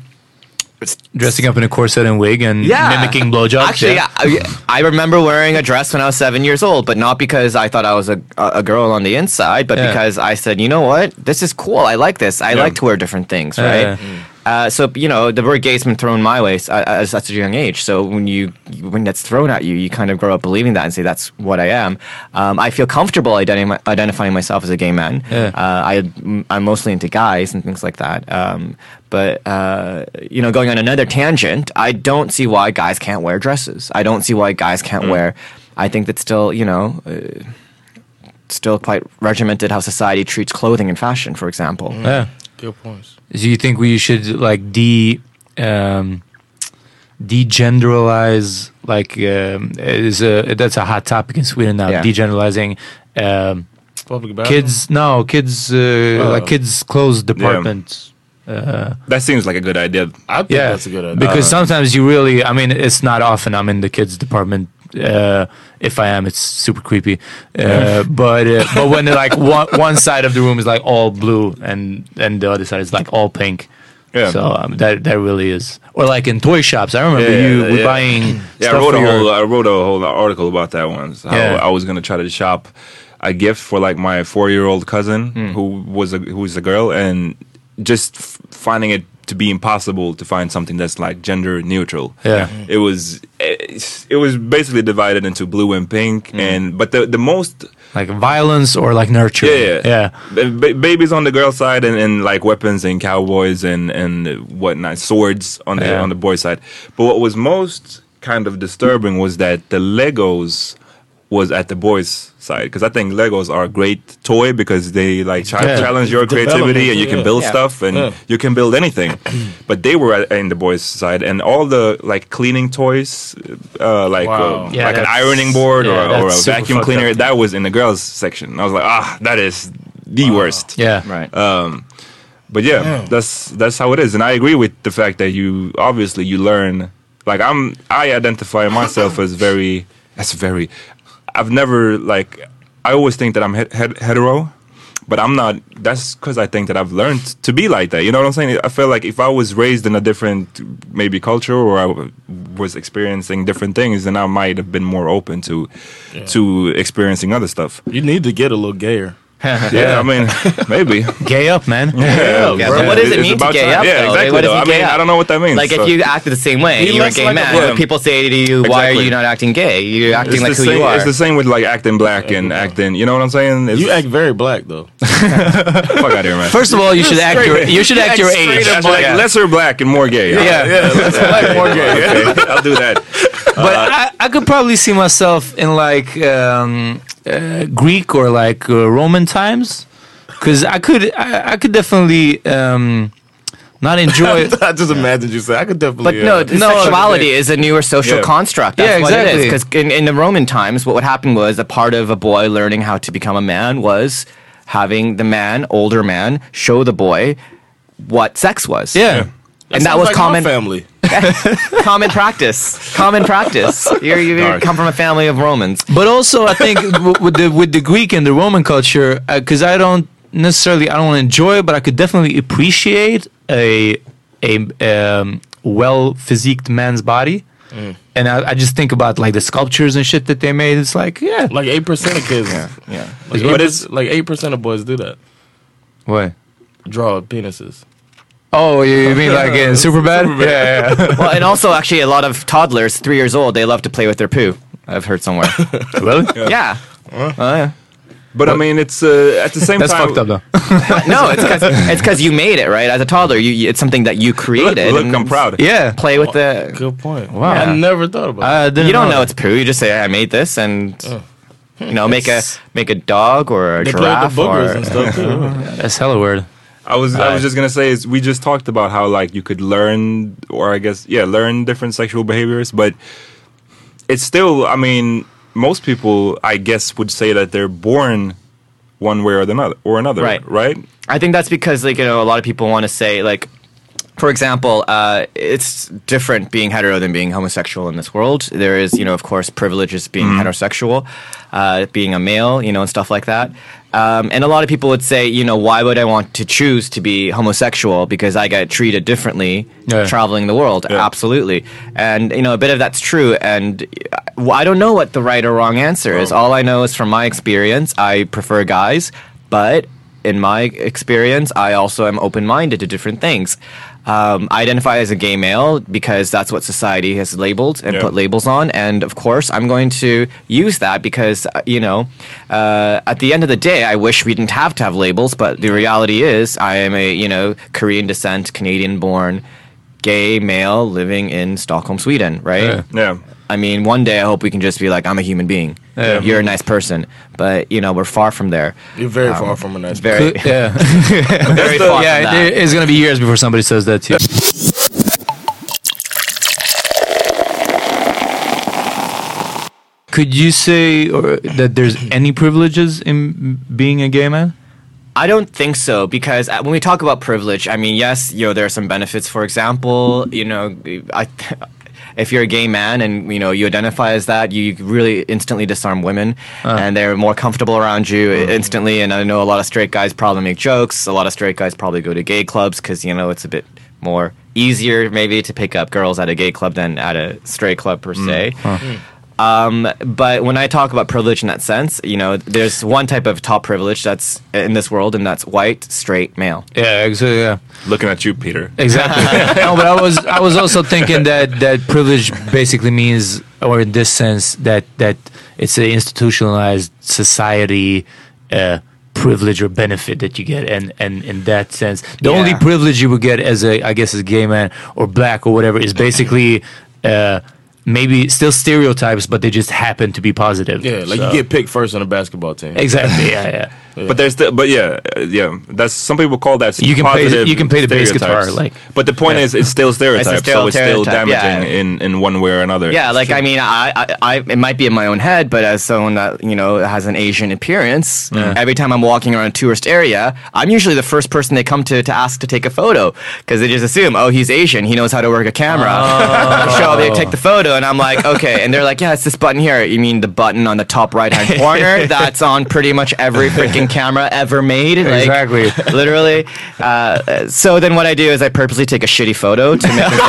Dressing up in a corset and wig and mimicking blowjobs.
Actually,
yeah.
I, I remember wearing a dress when I was seven years old, but not because I thought I was a, a girl on the inside, but
Yeah.
because I said, you know what, this is cool. I like this. I
Yeah.
like to wear different things,
Yeah,
right?
yeah.
Uh, so you know the word gay's been thrown my way s- uh, at such a young age. So when you when that's thrown at you, you kind of grow up believing that and say that's what I am. Um, I feel comfortable identi- identifying myself as a gay man.
Yeah.
Uh, I m- I'm mostly into guys and things like that. Um, but uh, you know, going on another tangent, I don't see why guys can't wear dresses. I don't see why guys can't wear. I think that's still you know. Uh, Still quite regimented how society treats clothing and fashion, for example.
Yeah.
Good points.
Do you think we should like de um, degeneralize? Like um, is a that's a hot topic in Sweden now.
Yeah.
Degeneralizing um,
Public bathroom?
kids. No, kids. Uh,
Oh.
like kids' clothes department. Uh,
that seems like a good idea. Uh,
I think
yeah, because sometimes you really. I mean, it's not often I'm in the kids' department. Uh, if I am, it's super creepy. Uh,
Yeah.
but uh, but when like one one side of the room is like all blue and and the other side is like all pink.
Yeah.
So um, that that really is, or like in toy shops. I remember
Yeah,
you
yeah,
were
yeah.
buying.
Yeah,
stuff
I wrote a
for your-
whole I wrote a whole article about that once. How
Yeah.
I was gonna try to shop a gift for like
Hmm.
my four year old cousin who was a who was a girl and just f- finding it to be impossible to find something that's like gender neutral.
Yeah.
It was eh, it, it was basically divided into blue and pink,
Hmm.
and but the the most
like violence or like nurture.
uh, yeah, yeah. Ba- babies on the girl side, and, and like weapons and cowboys and and whatnot, swords on the
Yeah.
on the boy side. But what was most kind of disturbing was that the Legos was at the boys side because I think Legos are a great toy because they like chi-
Yeah.
challenge your creativity and you can
Yeah.
build
Yeah.
stuff and
Yeah.
you can build anything. but they were at, in the boys side and all the like cleaning toys, uh, like
Wow.
uh,
Yeah,
like an
that's-
ironing board
yeah,
or, or a
that's super
vacuum
fucked
cleaner
up.
that was in the girls section. I was like, ah, that is the worst.
Yeah.
Right. Um, but yeah,
Damn.
that's that's how it is, and I agree with the fact that you obviously you learn. Like I'm, I identify myself as very, as very. I've never like, I always think that I'm het- het- hetero, but I'm not. That's because I think that I've learned to be like that. You know what I'm saying? I feel like if I was raised in a different maybe culture or I w- was experiencing different things, then I might have been more open to to experiencing other stuff.
Uh, You need to get a little gayer.
yeah, I mean, maybe
gay up, man.
Yeah,
Yeah, so what does it
It's
mean to
about
gay
time.
up?
Yeah,
though?
exactly,
Like, what does
though.
he
I
gay
mean,
up?
I don't know what that means,
Like,
so-
if you acted the same way,
He
you're a
looks
gay
like a
man.
boy.
If people say to you, "Why are
Exactly.
you not acting gay? You're acting
It's
like
the
who
same,
you are."
It's the same with like acting black and acting. You know what I'm saying? you act
very black though.
Fuck out of here, man.
First of all, you should act
Straight-
your- you should act your
straight
age.
up Like
Yeah.
lesser black and more gay.
Yeah.
yeah, lesser black, more gay. Okay, I'll do that.
but I, I could probably see myself in like um, uh, Greek or like uh, Roman times, because I could I, I could definitely um, not enjoy.
I just imagined you say I could
But
definitely.
no,
uh,
no, sexuality is a newer social
Yeah.
construct. That's
Yeah,
What it
exactly.
is. Because in, in the Roman times, what would happen was a part of a boy learning how to become a man was having the man, older man, show the boy what sex was. Yeah. And that
sounds
was
like my
common
family.
common practice. Common practice. You're, you you
Dark.
come from a family of Romans.
But also, I think w- with the with the Greek and the Roman culture, because I don't necessarily I don't enjoy, it, but I could definitely appreciate a a um, well physiqued man's body. And I, I just think about like the sculptures and shit that they made. It's like yeah,
like eight percent of kids. yeah,
yeah.
Like
But
but it's like eight percent of boys do that.
What?
Draw penises.
Oh, you, you mean like in Superbad? Yeah, yeah.
well, and also actually a lot of toddlers, three years old, they love to play with their poo. I've heard somewhere.
really?
Yeah.
Huh?
Oh, yeah.
But I mean, it's uh, at the same
That's
time.
fucked up,
though.
no, it's because it's because you made it right as a toddler. You, you it's something that you created.
look, I'm proud.
Yeah,
play with the.
Good point.
Wow.
I never thought about. it.
you don't know, it's poo. You just say I made this, and you know make a make a dog or a
They play with the
giraffe
boogers
or
and stuff, too.
That's hella weird.
I was I was
Uh,
just gonna say is we just talked about how like you could learn or I guess yeah learn different sexual behaviors, but it's still I mean most people I guess would say that they're born one way or the another or another
Right.
right
I think that's because like you know a lot of people want to say like for example, uh, it's different being hetero than being homosexual in this world. There is, you know, of course, privileges being heterosexual, uh, being a male, you know, and stuff like that. Um, and a lot of people would say, you know, why would I want to choose to be homosexual because I get treated differently
Yeah.
traveling the world? Absolutely. And, you know, a bit of that's true. And uh, well, I don't know what the right or wrong answer is. All I know is from my experience, I prefer guys, but in my experience, I also am open minded to different things. Um, I identify as a gay male because that's what society has labeled and
Yeah.
put labels on. And of course, I'm going to use that because, uh, you know, uh, at the end of the day, I wish we didn't have to have labels, but the reality is, I am a, you know, Korean descent, Canadian born gay male living in Stockholm, Sweden, right?
Yeah. Yeah.
I mean, one day I hope we can just be like, I'm a human being.
Yeah.
You're a nice person. But, you know, we're far from there.
You're very
Um,
far from a nice.
Very,
person.
yeah.
very
yeah,
far from that.
it- it's gonna be years before somebody says that to you. Could you say or, that there's any privileges in being a gay man?
I don't think so because uh, when we talk about privilege, I mean, yes, you know, there are some benefits. For example, you know, I, if you're a gay man and you know you identify as that, you really instantly disarm women, and they're more comfortable around you instantly. And I know a lot of straight guys probably make jokes. A lot of straight guys probably go to gay clubs because you know it's a bit more easier maybe to pick up girls at a gay club than at a straight club per se.
Huh. Mm.
Um, but when I talk about privilege in that sense, you know, there's one type of top privilege that's in this world, and that's white, straight, male.
Yeah, exactly. Yeah.
Looking at you, Peter.
Exactly. no, but I was I was also thinking that that privilege basically means, or in this sense, that that it's an institutionalized society uh, privilege or benefit that you get, and and in that sense, the only
Yeah.
privilege you would get as a I guess as a gay man or black or whatever is basically. Uh, Maybe still stereotypes, but they just happen to be positive.
Yeah, like
So-
you get picked first on a basketball team.
Exactly, yeah, yeah.
But there's the but yeah uh, yeah that's some people call that
You can play-
positive
you can play the bass
stereotypes.
guitar, like-
but the point
Yeah.
is it's still
It's a
stereotypes so it's still
stereotype,
damaging
yeah.
in in one way or another
Yeah, like I mean, I, I, I, it might be in my own head, but as someone that you know has an Asian appearance,
Yeah.
every time I'm walking around a tourist area, I'm usually the first person they come to to ask to take a photo because they just assume, oh, he's Asian, he knows how to work a camera. Show up, they take the photo, and I'm like, okay, and they're like, yeah, it's this button here. You mean the button on the top right hand corner? That's on pretty much every freaking camera ever made. Like,
Exactly.
literally. Uh, so then what I do is I purposely take a shitty photo to make them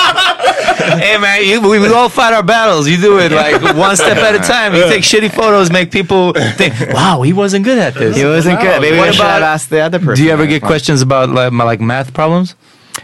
hey man, you, we, we all fight our battles. You do it like one step at a time. You take shitty photos, make people think, "Wow, he wasn't good at this.
He wasn't good. Maybe I should have asked the other
Do
person
you ever
that
get
one.
questions about like, my, like math problems?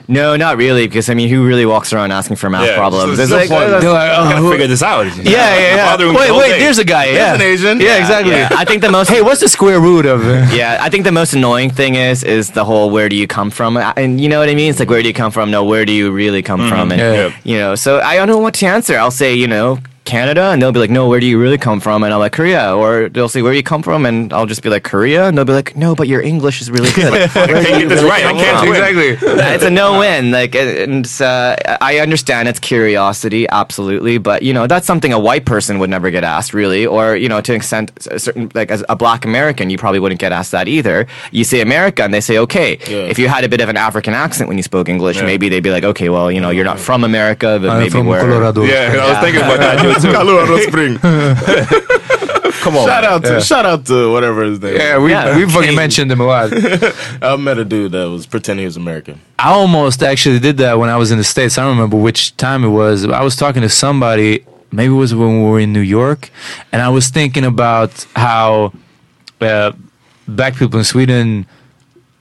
No, not really, because I mean, who really walks around asking for math
Yeah,
problems?
there's no point.
that's-
They're like, "Oh, Gotta who- figure
this out.
Yeah, yeah, yeah.
Bothering me
Wait,
all
wait,
day.
there's a guy.
There's
Yeah,
an Asian. Yeah, exactly.
I think the most. Hey,
what's the square root of?
yeah, I think the most annoying thing is is the whole where do you come from, Uh, and you know what I mean. It's like where do you come from? No, where do you really come
Mhm.
from? And
Yeah. Yep.
you know, so I don't know what to answer. I'll say, you know. Canada, and they'll be like, "No, where do you really come from?" And I'll like Korea, or they'll say, "Where do you come from?" And I'll just be like Korea, and they'll be like, "No, but your English is really good." Like, where do
Can't
you
get this
really
right. I
come
can't
from?
win. Exactly.
it's a no win. Like, and and it's, uh, I understand it's curiosity, absolutely, but you know that's something a white person would never get asked, really, or you know to an extent, a certain like as a black American, you probably wouldn't get asked that either. You say America, and they say, okay,
Yeah.
if you had a bit of an African accent when you spoke English,
Yeah.
maybe they'd be like, okay, well, you know, you're not from America, but
I'm
maybe
Uh, from
we're
Colorado.
Yeah, I was thinking about that.
Colorado Spring.
Come
on.
Shout out to
Yeah.
shout out to whatever his name.
Yeah, we- Yeah. we fucking mentioned him a lot.
I met a dude that was pretending he was American.
I almost actually did that when I was in the States. I don't remember which time it was. I was talking to somebody, maybe it was when we were in New York, and I was thinking about how uh, black people in Sweden.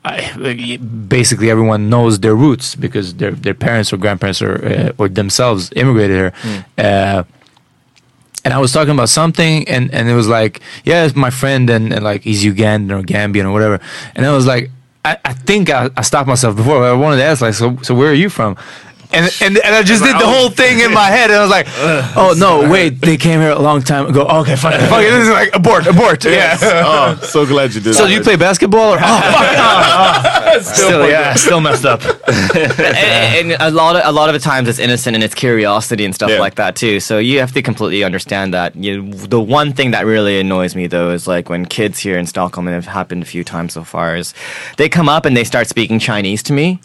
I, basically, everyone knows their roots because their their parents or grandparents or uh, or themselves immigrated here. Uh, and I was talking about something, and, and it was like, yeah, it's my friend, and, and like he's Ugandan or Gambian or whatever. And I was like, I, I think I, I stopped myself before. But I wanted to ask, like, so, so where are you from? And, and, and I just did the whole thing in my head, and I was like, oh no, wait, they came here a long time ago. Okay, fuck, it, fuck it. This is like abort, abort. Yeah.
oh, so glad you did.
So do you play basketball or? Oh, fuck,
still,
yeah, still messed up.
and, and a lot of a lot of the times it's innocent and it's curiosity and stuff
Yeah.
like that too. So you have to completely understand that. You, the one thing that really annoys me though is like when kids here in Stockholm and it happened a few times so far is they come up and they start speaking Chinese to me.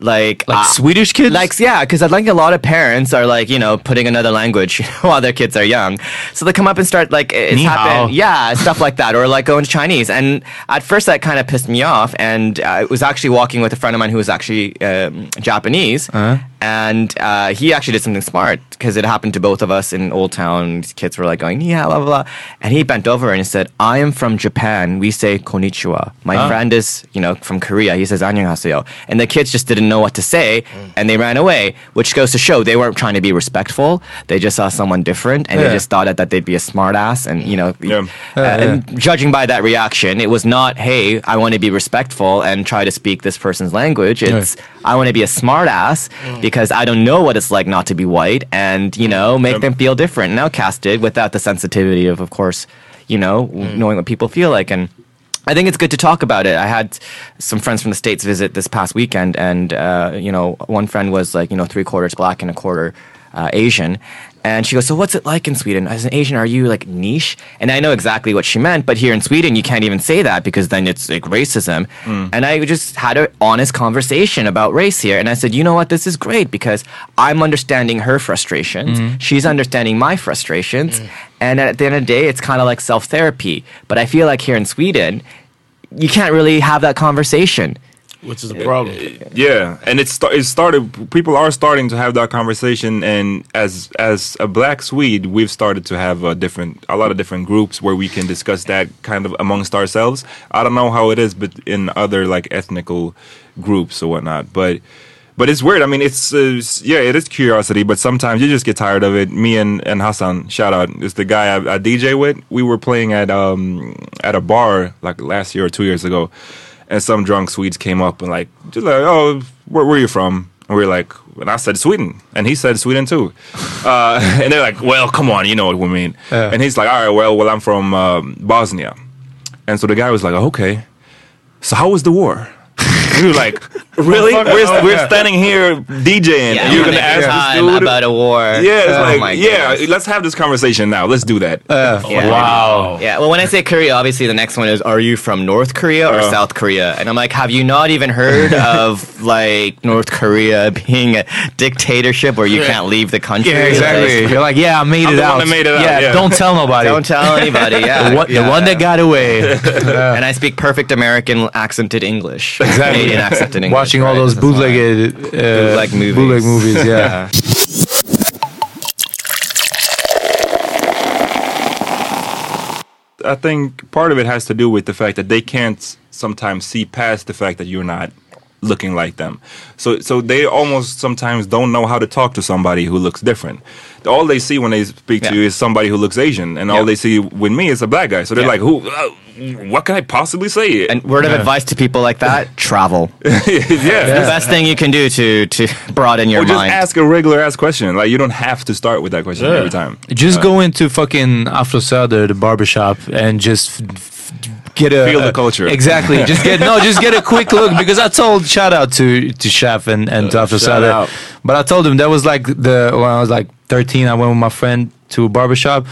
Like, uh,
Like Swedish kids?
Ah. Like, yeah, because I think a lot of parents are like, you know, putting another language while their kids are young. So they come up and start like, it's
Ni hao.
happened. Yeah, stuff like that, or like going to Chinese. And at first, that kind of pissed me off. And I was actually walking with a friend of mine who was actually um, Japanese,
Uh-huh.
and uh, he actually did something smart because it happened to both of us in Old Town. These kids were like going, "Yeah, blah blah," blah." and he bent over and he said, "I am from Japan. We say konnichiwa. My
Huh.
friend is, you know, from Korea. He says 안녕하세요." And the kids just didn't know what to say,
Mm.
and they ran away, which goes to show they weren't trying to be respectful. They just saw someone different, and
Yeah.
they just thought that, that they'd be a smartass, and you know, uh,
Yeah, yeah.
and judging by that reaction, it was not, hey, I want to be respectful and try to speak this person's language. It's, I want to be a smartass because I don't know what it's like not to be white and, you know, make them feel different and outcasted without the sensitivity of, of course, you know, w knowing what people feel like. And I think it's good to talk about it. I had some friends from the States visit this past weekend, and, uh, you know, one friend was like, you know, three quarters black and a quarter uh, Asian. And she goes, So what's it like in Sweden? As an Asian, are you like niche? And I know exactly what she meant, but here in Sweden, you can't even say that because then it's like racism. And I just had an honest conversation about race here. And I said, You know what? This is great because I'm understanding her frustrations.
Mhm.
She's understanding my frustrations. And at the end of the day, it's kind of like self therapy. But I feel like here in Sweden, you can't really have that conversation.
Which is a problem.
Yeah, and it, sta- it started. People are starting to have that conversation, and as as a Black Swede, we've started to have a different, a lot of different groups where we can discuss that kind of amongst ourselves. I don't know how it is, but in other like ethnical groups or whatnot, but. But it's weird. I mean, it's uh, s- yeah, it is curiosity. But sometimes you just get tired of it. Me and, and Hassan, shout out, is the guy I, I DJ with. We were playing at um at a bar like last year or two years ago, and some drunk Swedes came up and like just like, oh, where where you from? And we were like, and I said Sweden, and he said Sweden too. Uh, and they're like, well, come on, you know what we mean.
Yeah.
And he's like, all right, well, well, I'm from um, Bosnia. And so the guy was like, okay, so how was the war? we were like, really?
Motherfucker.
We're, we're
Yeah.
standing here DJing,
Yeah,
and you're
we're
gonna
having
ask
a
this
time
dude
about a war.
Yeah, it's
Oh my
like, yeah, let's have this conversation now. Let's do that.
Yeah. Yeah. Well, when I say Korea, obviously the next one is, are you from North Korea
Uh.
or South Korea? And I'm like, have you not even heard of like North Korea being a dictatorship where you
Yeah.
can't leave the country?
Yeah, exactly. You're like, yeah, I made
I'm
it
the one
out.
that made it out,
yeah,
yeah.
don't tell nobody.
Don't tell anybody. Yeah.
the one,
Yeah.
the one that got away.
and I speak perfect American accented English. Canadian accented English.
Watching all those bootlegged uh,
Bootleg movies.
Bootleg movies. Yeah.
I think part of it has to do with the fact that they can't sometimes see past the fact that you're not looking like them. So so they almost sometimes don't know how to talk to somebody who looks different. All they see when they speak to you is somebody who looks Asian, and all they see with me is a black guy. So they're
Yeah.
like, "Who? Uh, what can I possibly say?" And
Word of advice to people like that: travel.
yeah,
It's the best thing you can do to to broaden your
Or just
mind.
ask a regular ass question. Like you don't have to start with that question every time.
Just
Uh,
go into fucking Afro Sada, the barbershop, and just f- f- get a
Feel the culture.
Exactly. just get no, just get a quick look because I told shout out to to Chef and
Uh,
and to Afro
shout
Sada,
out.
but I told him that was like the when I was like 13, I went with my friend to a barbershop.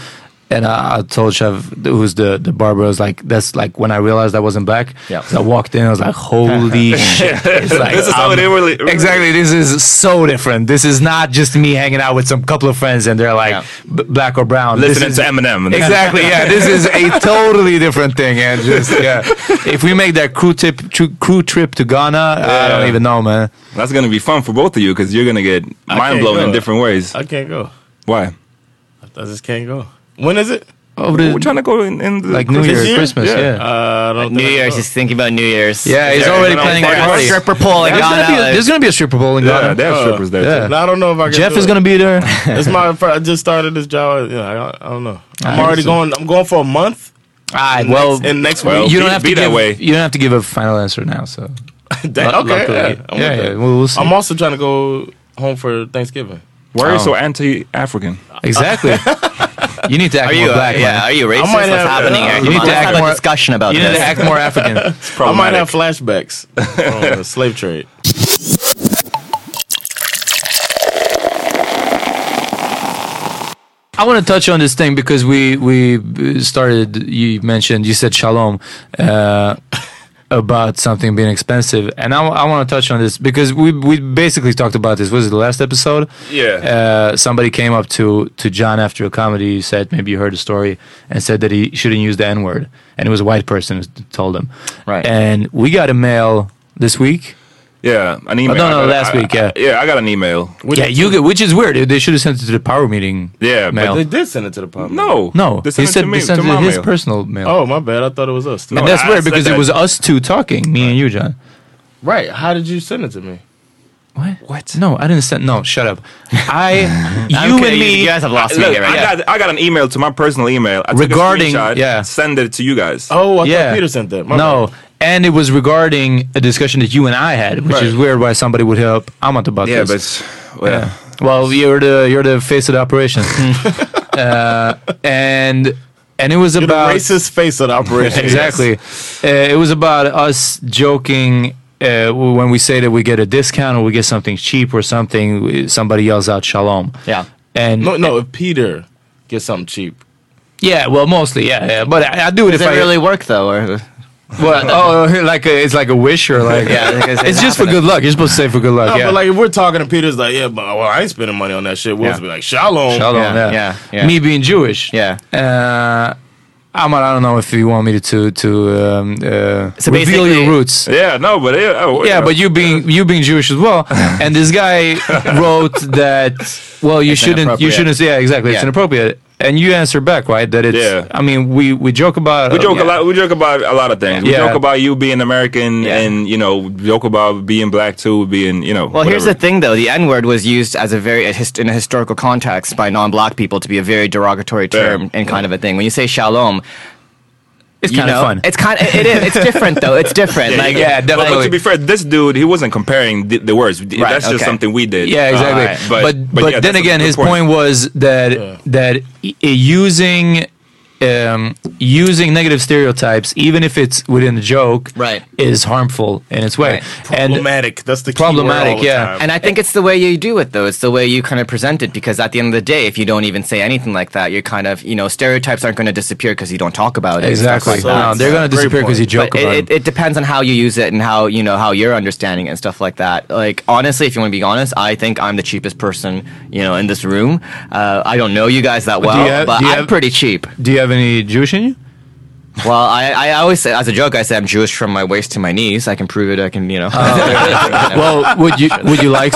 And I, I told Chef, who's the, the barber, I was like, that's like when I realized I wasn't black.
Yeah.
So I walked in, I was like, holy shit. It's like,
This is how
I'm-
they really-
Exactly. This is so different. This is not just me hanging out with some couple of friends and they're like b- black or brown. This
Listening
is-
to Eminem.
Exactly. Yeah. This is a totally different thing. And just yeah, if we make that crew tip tru- crew trip to Ghana, I don't
Yeah.
even know, man.
That's gonna be fun for both of you because you're gonna get
I
mind
can't
blown in
go.
different ways.
I can't go.
Why?
I just can't go. When is it?
Oh,
we're trying to go in, in the
Like New
This
Year's,
year?
Christmas, yeah.
Uh, I don't
New Year's, he's thinking about New Year's.
Yeah, he's already planning a party.
Stripper pole in
There's gonna
Ghana.
be a-
like-
There's gonna be a stripper pole in
Yeah,
Ghana.
they have strippers there,
Yeah.
No, I don't know if I can.
Jeff
do
is
it.
gonna be there.
it's my. fir- I just started this job. You know, I, I don't know. I'm
I
already
see.
going. I'm going for a month.
All right,
And
well,
next- and next week
you don't have to give,
that way.
You don't have to give a final answer now. So
That-
Lu-
okay.
luckily.
Yeah, I'm
yeah,
with
yeah,
that.
We'll, we'll see.
I'm also trying to go home for Thanksgiving.
Why are you so
Oh.
anti-African?
Exactly. you need to act
Are you,
more black.
uh,
man.
yeah, are you racist?
I might
What's
have-
happening here?
You
Come on,
need to
let's
act
have
more-
a discussion about
you
this.
need to act more African.
I might have flashbacks from the slave trade.
I want to touch on this thing because we we started. You mentioned you said shalom uh, about something being expensive, and I, I want to touch on this because we we basically talked about this. Was it the last episode? Yeah. Uh, somebody came up to to John after a comedy. You said maybe you heard the story and said that he shouldn't use the N word, and it was a white person who told him. Right. And we got a mail this week.
Yeah, an email.
no, no,
I got-
last
I-
week, yeah.
I- yeah, I got an email.
yeah, you get, which is weird. They should have sent it to the power meeting.
Yeah, but
mail.
They did send it to the pub.
No,
No,
They
he
sent it
said
to
they
me,
sent
to
it
my
his
mail.
personal mail.
Oh my bad. I thought it was us.
and that's weird because it was us two talking, me and you, John.
Right. How did you send it to me?
What? What? No, I didn't send. No, shut up. I, you
kidding,
and
you-
me.
you guys have lost
Look, I got I got an email to my personal email I took a
Regarding-
screenshot,
yeah.
send it to you guys.
Oh, I
yeah.
thought Peter sent that. My
no, and it was regarding a discussion that you and I had, which
Right.
is weird. Why somebody would help Amat about
yeah, but
this?
it's- well,
Yeah. Well, you're the you're the face of the operation, uh, and and it was
You're
about
the racist face of the operation.
exactly. Uh, it was about us joking uh, when we say that we get a discount or we get something cheap or something. we- Somebody yells out shalom.
Yeah.
And
No, no. If Peter gets something cheap,
yeah, well, mostly yeah, yeah. But I, I do it
Does
if
it
I
really work though? Or
Well, oh, like a, it's like a wish or like
Yeah, because
it's
it
just for good
happened.
luck. You're supposed to say for good luck.
no,
yeah.
but like if we're talking to Peter's, like, yeah, but well, I ain't spending money on that shit. We'll
Yeah.
be like, shalom,
Shalom, yeah. Me being Jewish.
Yeah.
Uh, Ahmad, I don't know if you want me to to um, uh,
So
reveal
basically-
your roots.
Yeah, no, but it, oh,
yeah, but you being you being Jewish as well, and this guy wrote that well, you
It's
shouldn't you
inappropriate.
shouldn't yeah exactly it's
Yeah.
inappropriate, and you answer back right that it's
Yeah.
I mean we we joke about
We joke
yeah.
a lot. We joke about a lot of things. We
Yeah.
joke about you being American, and you know, joke about being black too, being you know.
Well, here's the thing, though. The N word was used as a very a hist- in a historical context by non-black people to be a very derogatory term and kind of a thing. When you say shalom,
It's
you
kinda
know,
fun.
It's kind. It is. It's different, though. It's different. like
But- But to be fair, this dude, he wasn't comparing the, the words.
Right,
That's just
okay.
something we did.
Yeah, exactly.
Alright.
But but,
yeah,
then
that's a
again,
good
his point. was that that i- i- using um, using negative stereotypes, even if it's within the joke, right. is harmful in its way.
Problematic. That's the key word all
problematic.
the
yeah,
And I think it's the way you do it, though. It's the way you kind of present it, because at the end of the day, if you don't even say anything like that, you're kind of, you know, stereotypes aren't going to disappear because you don't talk about it. and stuff
Exactly.
like that.
No, they're gonna
Great
disappear 'cause you
point.
joke
But
about
it, it. It depends on how you use it and how you know how you're understanding it and stuff like that. Like honestly, if you want to be honest, I think I'm the cheapest person, you know, in this room. Uh, I don't know you guys that
But do
well,
you have-
but
do you
I'm
have-
pretty cheap.
Do you have any Jewish in you?
Well, I, I always say, as a joke, I say I'm Jewish from my waist to my knees. I can prove it. I can, you know.
Oh. well, would you would you like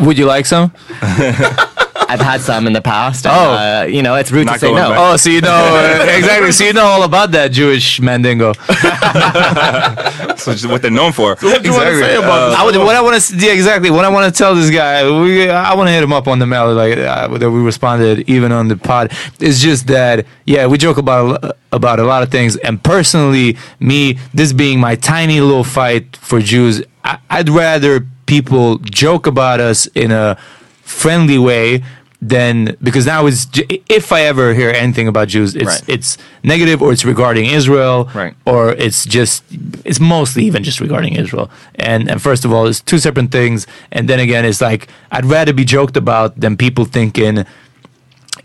would you like some?
I've had some in the past. Oh, uh, you know, it's rude to say no.
Oh, so you know uh, exactly. So you know all about that Jewish mandingo.
That's what- what they're known for. Uh,
I would, what I want to yeah, exactly what I want to tell this guy. We, I want to hit him up on the mail like uh, that we responded even on the pod. It's just that yeah, we joke about a lo- about a lot of things. And personally, me this being my tiny little fight for Jews, I, I'd rather people joke about us in a friendly way. than because now it's j- if I ever hear anything about Jews, it's
Right.
it's negative or it's regarding Israel, right. or it's just it's mostly even just regarding Israel. And and first of all, it's two separate things. And then again, it's like I'd rather be joked about than people thinking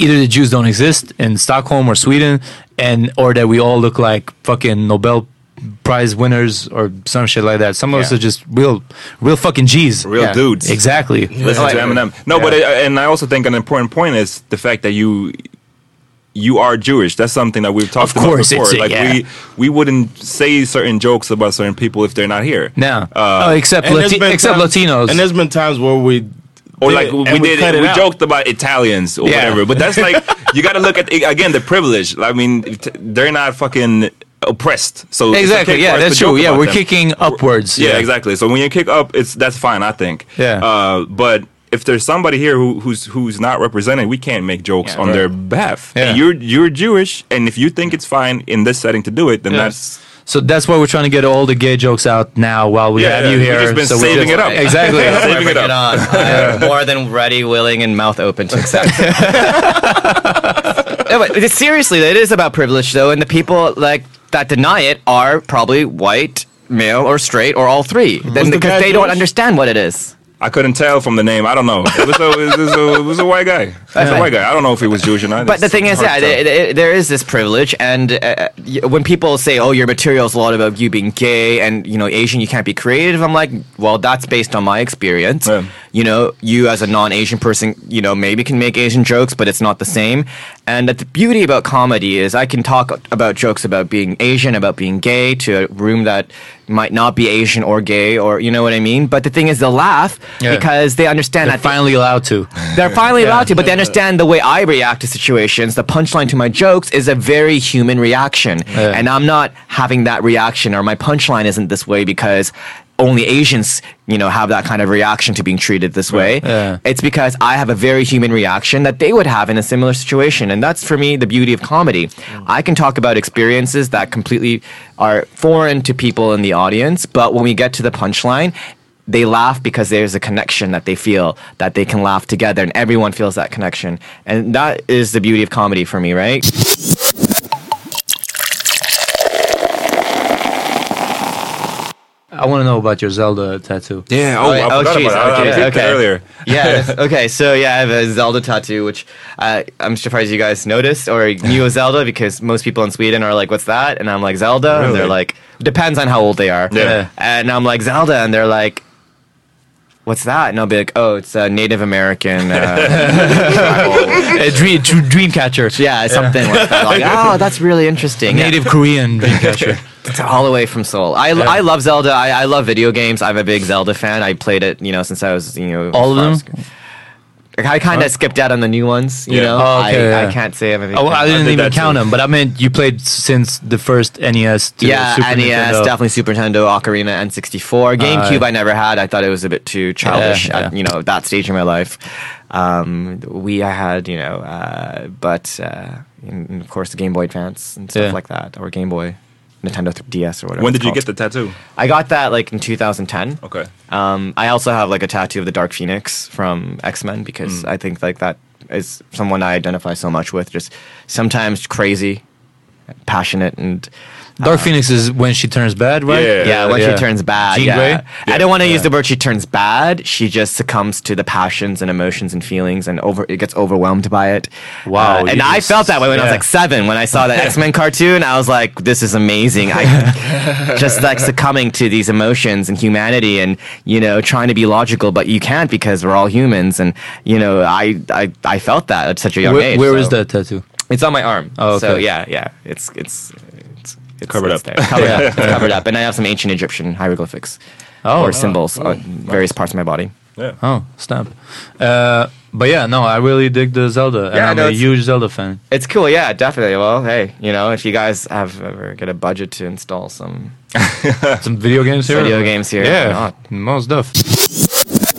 either the Jews don't exist in Stockholm or Sweden, and or that we all look like fucking Nobel prize winners or some shit like that. Some of us
Yeah.
are just real, real fucking G's,
Real dudes.
exactly.
Listen to Eminem. No, but it, and I also think an important point is the fact that you you are Jewish. That's something that we've talked
course,
about before.
it's a-
like
yeah.
we we wouldn't say certain jokes about certain people if they're not here.
No.
Uh,
oh, except
and there's
Lati-
been
except
times-
Latinos.
and
there's been times where we
or
did
like
it
we
and we
did,
cut it
we
out.
joked about Italians or
Yeah.
whatever. But that's like you got to look at again the privilege. I mean, t- they're not fucking oppressed, so it's
exactly.
okay for
yeah,
us to
that's true.
joke
Yeah,
about
we're
them.
kicking upwards.
Yeah, exactly. So when you kick up, it's that's fine. I think.
Yeah.
Uh, but if there's somebody here who, who's who's not represented, we can't make jokes on
Right.
their behalf.
Yeah.
And you're you're Jewish, and if you think it's fine in this setting to do it, then
Yeah.
that's
So that's why we're trying to get all the gay jokes out now while we
Yeah,
have
yeah,
you
we've
here.
just been
so we're
saving it up.
Exactly.
Yeah, saving it
Bring it
up.
on. I'm more than ready, willing, and mouth open to accept. no, but it- seriously, it is about privilege, though, and the people like that deny it are probably white, male, or straight, or all three. Then because they don't understand what it is.
I couldn't tell from the name. I don't know. It was a, it was a, it was a white guy. It was a
Okay.
white guy. I don't know if he was Jewish or not.
But the thing is, yeah, there, there- there is this privilege, and uh, y- when people say, "Oh, your material is a lot about you being gay and you know Asian, you can't be creative," I'm like, "Well, that's based on my experience. You know, you as a non-Asian person, you know, maybe can make Asian jokes, but it's not the same." And the beauty about comedy is, I can talk about jokes about being Asian, about being gay, to a room that might not be Asian or gay, or you know what I mean. But the thing is, they'll laugh
Yeah.
because they understand.
They're
at the-
finally allowed to.
they're finally
Yeah.
allowed to, but they understand the way I react to situations. The punchline to my jokes is a very human reaction. And I'm not having that reaction, or my punchline isn't this way because only Asians, you know, have that kind of reaction to being treated this way. It's because I have a very human reaction that they would have in a similar situation. And that's for me the beauty of comedy. I can talk about experiences that completely are foreign to people in the audience, but when we get to the punchline, they laugh because there's a connection that they feel that they can laugh together and everyone feels that connection and that is the beauty of comedy for me right
I want to know about your Zelda tattoo.
Oh, Yeah.
Oh, jeez,
Okay. okay.
yeah that's- okay so yeah i have a zelda tattoo which uh, i'm surprised you guys noticed or knew of zelda because most people in sweden are like what's that and i'm like zelda and
Really?
they're like depends on how old they are
Yeah.
and i'm like zelda and they're like what's that? And I'll be like, oh, it's a Native American uh, a dream, Dreamcatcher. Yeah, something like that. Like, oh, that's really interesting.
Native
yeah.
Korean Dreamcatcher.
It's all the way from Seoul. I,
Yeah.
I love Zelda. I, I love video games. I'm a big Zelda fan. I played it, you know, since I was, you know,
All of
five-
them.
I kind of skipped out on the new ones. You
Yeah.
know,
Oh, okay,
I,
yeah.
I can't say I'm a big
Oh, I
fan.
didn't even count them, but I meant you played since the first NES. To
yeah,
Super
NES,
Nintendo.
definitely Super Nintendo, Ocarina, N64. GameCube, I never had. I thought it was a bit too childish at you know that stage in my life. Um, we I had you know, uh, but uh, and- and of course the Game Boy Advance and stuff
Yeah.
like that, or Game Boy, Nintendo 3DS or whatever.
When
it's
did you get
called.
the tattoo?
I got that like in 2010.
Okay.
Um, I also have like a tattoo of the Dark Phoenix from X Men because
Mm.
I think like that is someone I identify so much with. Just sometimes crazy, passionate, and
Dark Phoenix is when she turns bad, right?
yeah, when she turns bad.
Jean
yeah.
Grey?
I don't want to use the word she turns bad. She just succumbs to the passions and emotions and feelings and over it gets overwhelmed by it. Wow. and
you
I
just-
felt that way when I was
yeah.
like seven. When I saw the X Men cartoon, I was like, this is amazing. I just like succumbing to these emotions and humanity and, you know, trying to be logical, but you can't because we're all humans. And, you know, I, I, I felt that at such a young
Where-
age.
where
Where is
is that tattoo?
It's on my arm.
Oh, okay.
So yeah, yeah. It's, it's, it's, it's
Covered
it's
up.
there. Covered up.
Yeah.
It's covered up. And I have some ancient Egyptian hieroglyphics
Oh.
or symbols
Oh,
on various parts of my body.
Yeah.
Oh, snap. Uh, but yeah, no, I really dig the Zelda. and
Yeah,
I'm
no,
a
it's-
huge Zelda fan.
It's cool, yeah, definitely. Well, hey, you know, if you guys have ever get a budget to install some
Some video games here.
Video games here, why
Yeah,
not?
most stuff.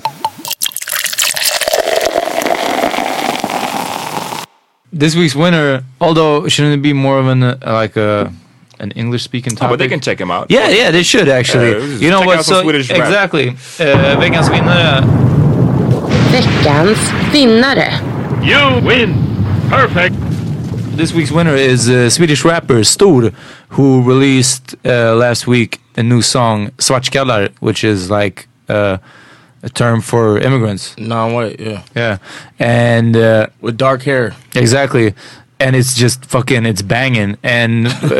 This week's winner, although shouldn't it be more of an uh, like a an English speaking topic?
but they can check him out.
Yeah, yeah, they should actually.
Yeah,
you know
Uh, check
what?
out some
So
Swedish rap.
exactly, uh, veckans vinnare.
Veckans vinnare.
You win. Perfect. This week's winner is uh, Swedish rapper Stor, who released uh, last week a new song, Svartskallar, which is like uh, a term for immigrants.
Non-white, yeah.
Yeah. And uh,
with dark hair.
Exactly. And it's just fucking, it's banging. And uh,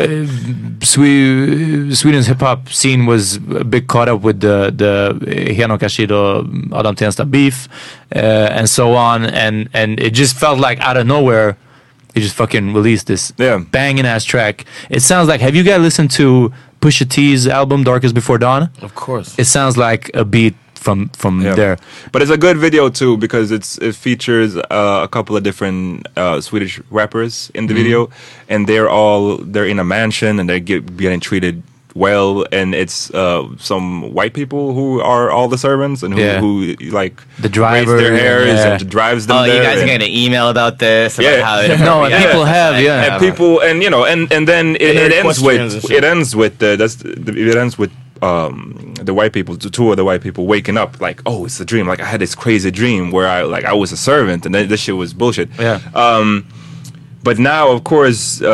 Swe- Sweden's hip hop scene was a bit caught up with the the Henok Ashido, Adam Tensta beef, uh, and so on. And and it just felt like out of nowhere, they just fucking released this banging ass track. It sounds like. Have you guys listened to Pusha T's album Darkest Before Dawn?
Of course.
It sounds like a beat from from there.
But it's a good video too because it's it features uh, a couple of different uh, Swedish rappers in the
Mhm.
Mm-hmm.
video, and they're all they're in a mansion and they're get, getting treated well, and it's uh, some white people who are all the servants and who,
Yeah.
who like
the
driver,
their hairs
yeah.
and drives them.
Oh, you
there
guys are
and-
getting an email about this. About
Yeah.
how
No, and
yeah.
people have,
And-
and people and you know and and then it,
And
it
their
ends
questions
with
and shit.
it ends with the, that's the, it ends with um the white people the two of the white people waking up like oh it's a dream like I had this crazy dream where I like I was a servant and then this shit was bullshit
Yeah.
um but now of course uh,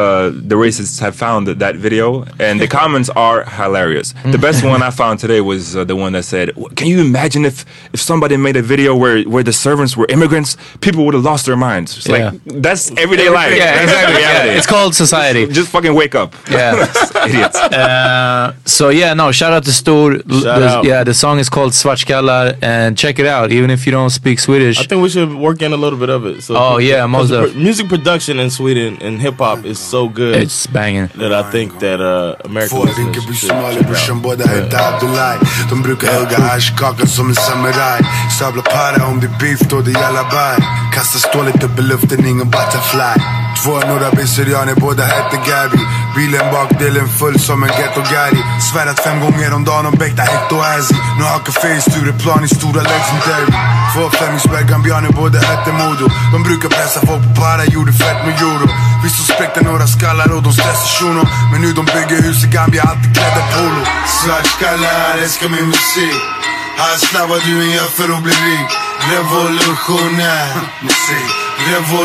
the racists have found that, that video and the comments are hilarious
Mm.
the best one i found today was uh, the one that said "W- can you imagine if if somebody made a video where where the servants were immigrants people would have lost their minds it's
Yeah.
like that's everyday life
Yeah,
That's
exactly. Yeah,
reality.
It's called society. Just,
fucking wake up.
Yeah,
idiots.
Uh, so yeah, no. Shout out to Stor. L-
Shout
the-
out.
Yeah, the song is called Svartskallar, and check it out. Even if you don't speak Swedish,
I think we should work in a little bit of it. So
Oh, yeah,
'cause
most
the
def-
pro- music production in Sweden and hip hop is so good.
It's banging.
That I think that uh, American
Få
listeners
dricker brorsan
should check
Mali,
it
brorsan
out.
båda hette Abdullahi De brukar hugga ashkakan som en samuraj Sabla para om det är beef då det gäller bär Kastar stålet upp i luften, ingen butterfly Två norrabasilianer, båda hette Gabi Bilen bakdelen full som en ghetto-gary Svärat fem gånger om dagen om Bekta, Hector och Azzy Nu hakar Fey Stureplan i stora legendary Två Flemingsberg, gambianer, båda hette Modo De brukar pressa folk på para, gjorde fett med euro Vi suspektar några skallar och de stressar shunon Men nu de bygger hus i Gambia, alltid klädda polo Svartskallar älskar min musik Här snabbar du en gör för att bli rik Revolutionär musik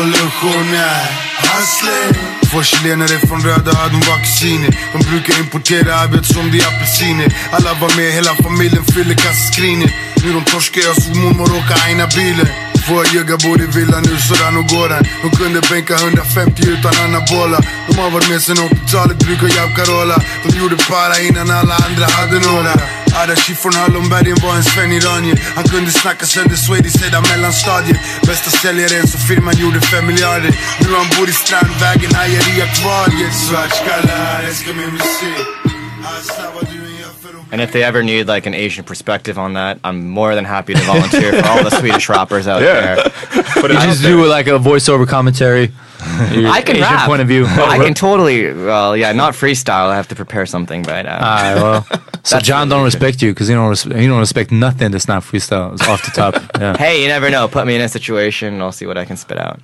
Revolutionär Hustling Två chilenare från Röda Ö, de var kusiner De brukar importera arbet som de apelsiner Alla var med, hela familjen fyller kassaskrinet Nu de torskar, jag såg mormor åka aina bilen Två juggar bor i villa nu, sådär nog går den De kunde bänka 150 utan anabola De
e
har varit med sen 80-talet, brukar Jav Carola De gjorde para innan alla andra hade några Adashi från Hallonbergen var en sveniranier Han kunde snacka sönder Swedish sedan mellanstadiet Bästa säljaren så firman gjorde fem miljarder Nu han bor i Strandvägen, hajar i akvariet Svartskalle här älskar min musik
Ah,
And if they ever need like an Asian perspective on that, I'm more than happy to volunteer for all the Swedish rappers out
Yeah.
there.
But you just do like a voiceover commentary. Your
I can
Asian
rap.
point of view.
I can totally. Well, yeah, not freestyle. I have to prepare something uh, right now.
Alright, well, so John don't respect you because you don't res- you don't respect nothing that's not freestyle. It's off the top. Yeah.
Hey, you never know. Put me in a situation, and I'll see what I can spit out.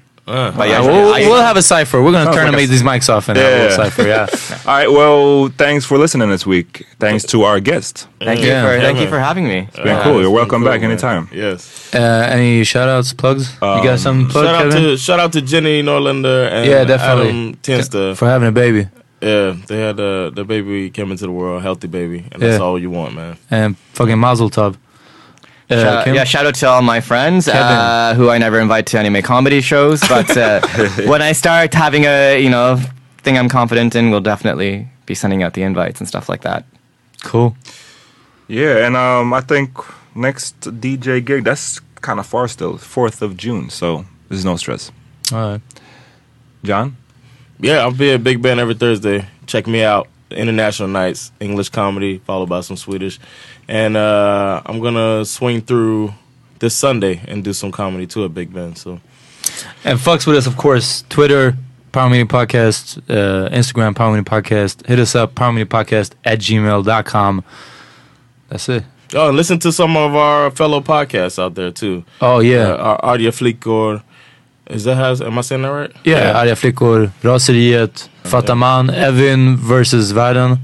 But yeah, we'll, we'll have a cipher. We're gonna
Sounds like
turn and
a-
make these mics off and have a little cipher. Yeah.
All right. Well, thanks for listening this week. Thanks to our guest.
Thank you for thank you for having me. Uh,
It's been cool. You're welcome back anytime.
Yes.
Uh, any shout outs, plugs? you
Um,
got something to plug,
shout out
Kevin?
to shout out to Jenny Norlander and
yeah, definitely.
Adam Tenster.
for having a baby.
Yeah, they had uh, the baby came into the world, healthy baby, and that's
Yeah.
all you want, man.
and fucking Mazel Tov. Uh,
Shout-
Kim?
yeah, shout out to all my friends uh, who I never invite to anime comedy shows. But uh, when I start having a you know thing I'm confident in, we'll definitely be sending out the invites and stuff like that.
Cool.
Yeah, and um, I think next DJ gig that's kind of far still, fourth of June. So there's no stress.
All right.
John?
Yeah, I'll be at Big Ben every Thursday. Check me out. International nights, English comedy, followed by some Swedish. And uh, I'm going to swing through this Sunday and do some comedy too at Big Ben. So
And fucks with us, of course. Twitter, Power Meeting Podcast, uh, Instagram, Power Meeting Podcast. Hit us up, Power Meeting Podcast at gmail.com. That's it.
Oh, and listen to some of our fellow podcasts out there too.
Oh, yeah.
uh, our Audio Flickor. Is that how? Am I saying that right?
Yeah, Eh, Arga Flickor, Raseriet, Fataman, Evin versus Världen.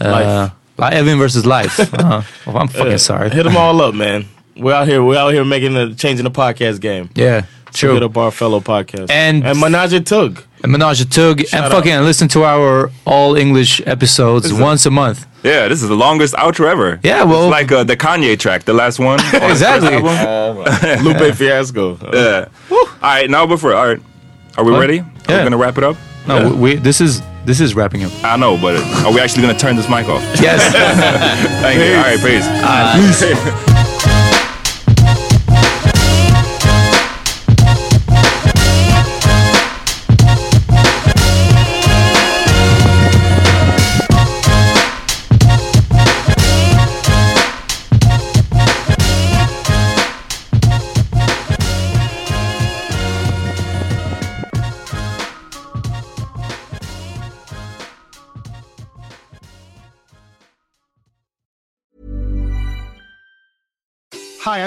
Uh,
Life.
Li- Evin versus Life. uh, well, I'm fucking
Yeah.
sorry.
Hit them all up, man. We're out here. We're out here making the changing the podcast game.
Yeah,
So
true.
hit up our fellow podcast
And-
and Menage a Tug.
And Menage a Tug.
Shout
and fucking listen to our all English episodes
This is-
once a month.
Yeah, this is the longest outro ever. Yeah, well, it's like uh, the Kanye track, the last one. on the first
Exactly.
É,
album.
Lupe Fiasco.
yeah. All right, now before all right, are we
What?
ready? Are we
Yeah.
gonna wrap it up?
No,
Yeah.
we, this is this is wrapping up.
I know, but uh, are we actually gonna turn this mic off?
Yes. Uh,
Thank you. All right, peace.
Peace.
Hi,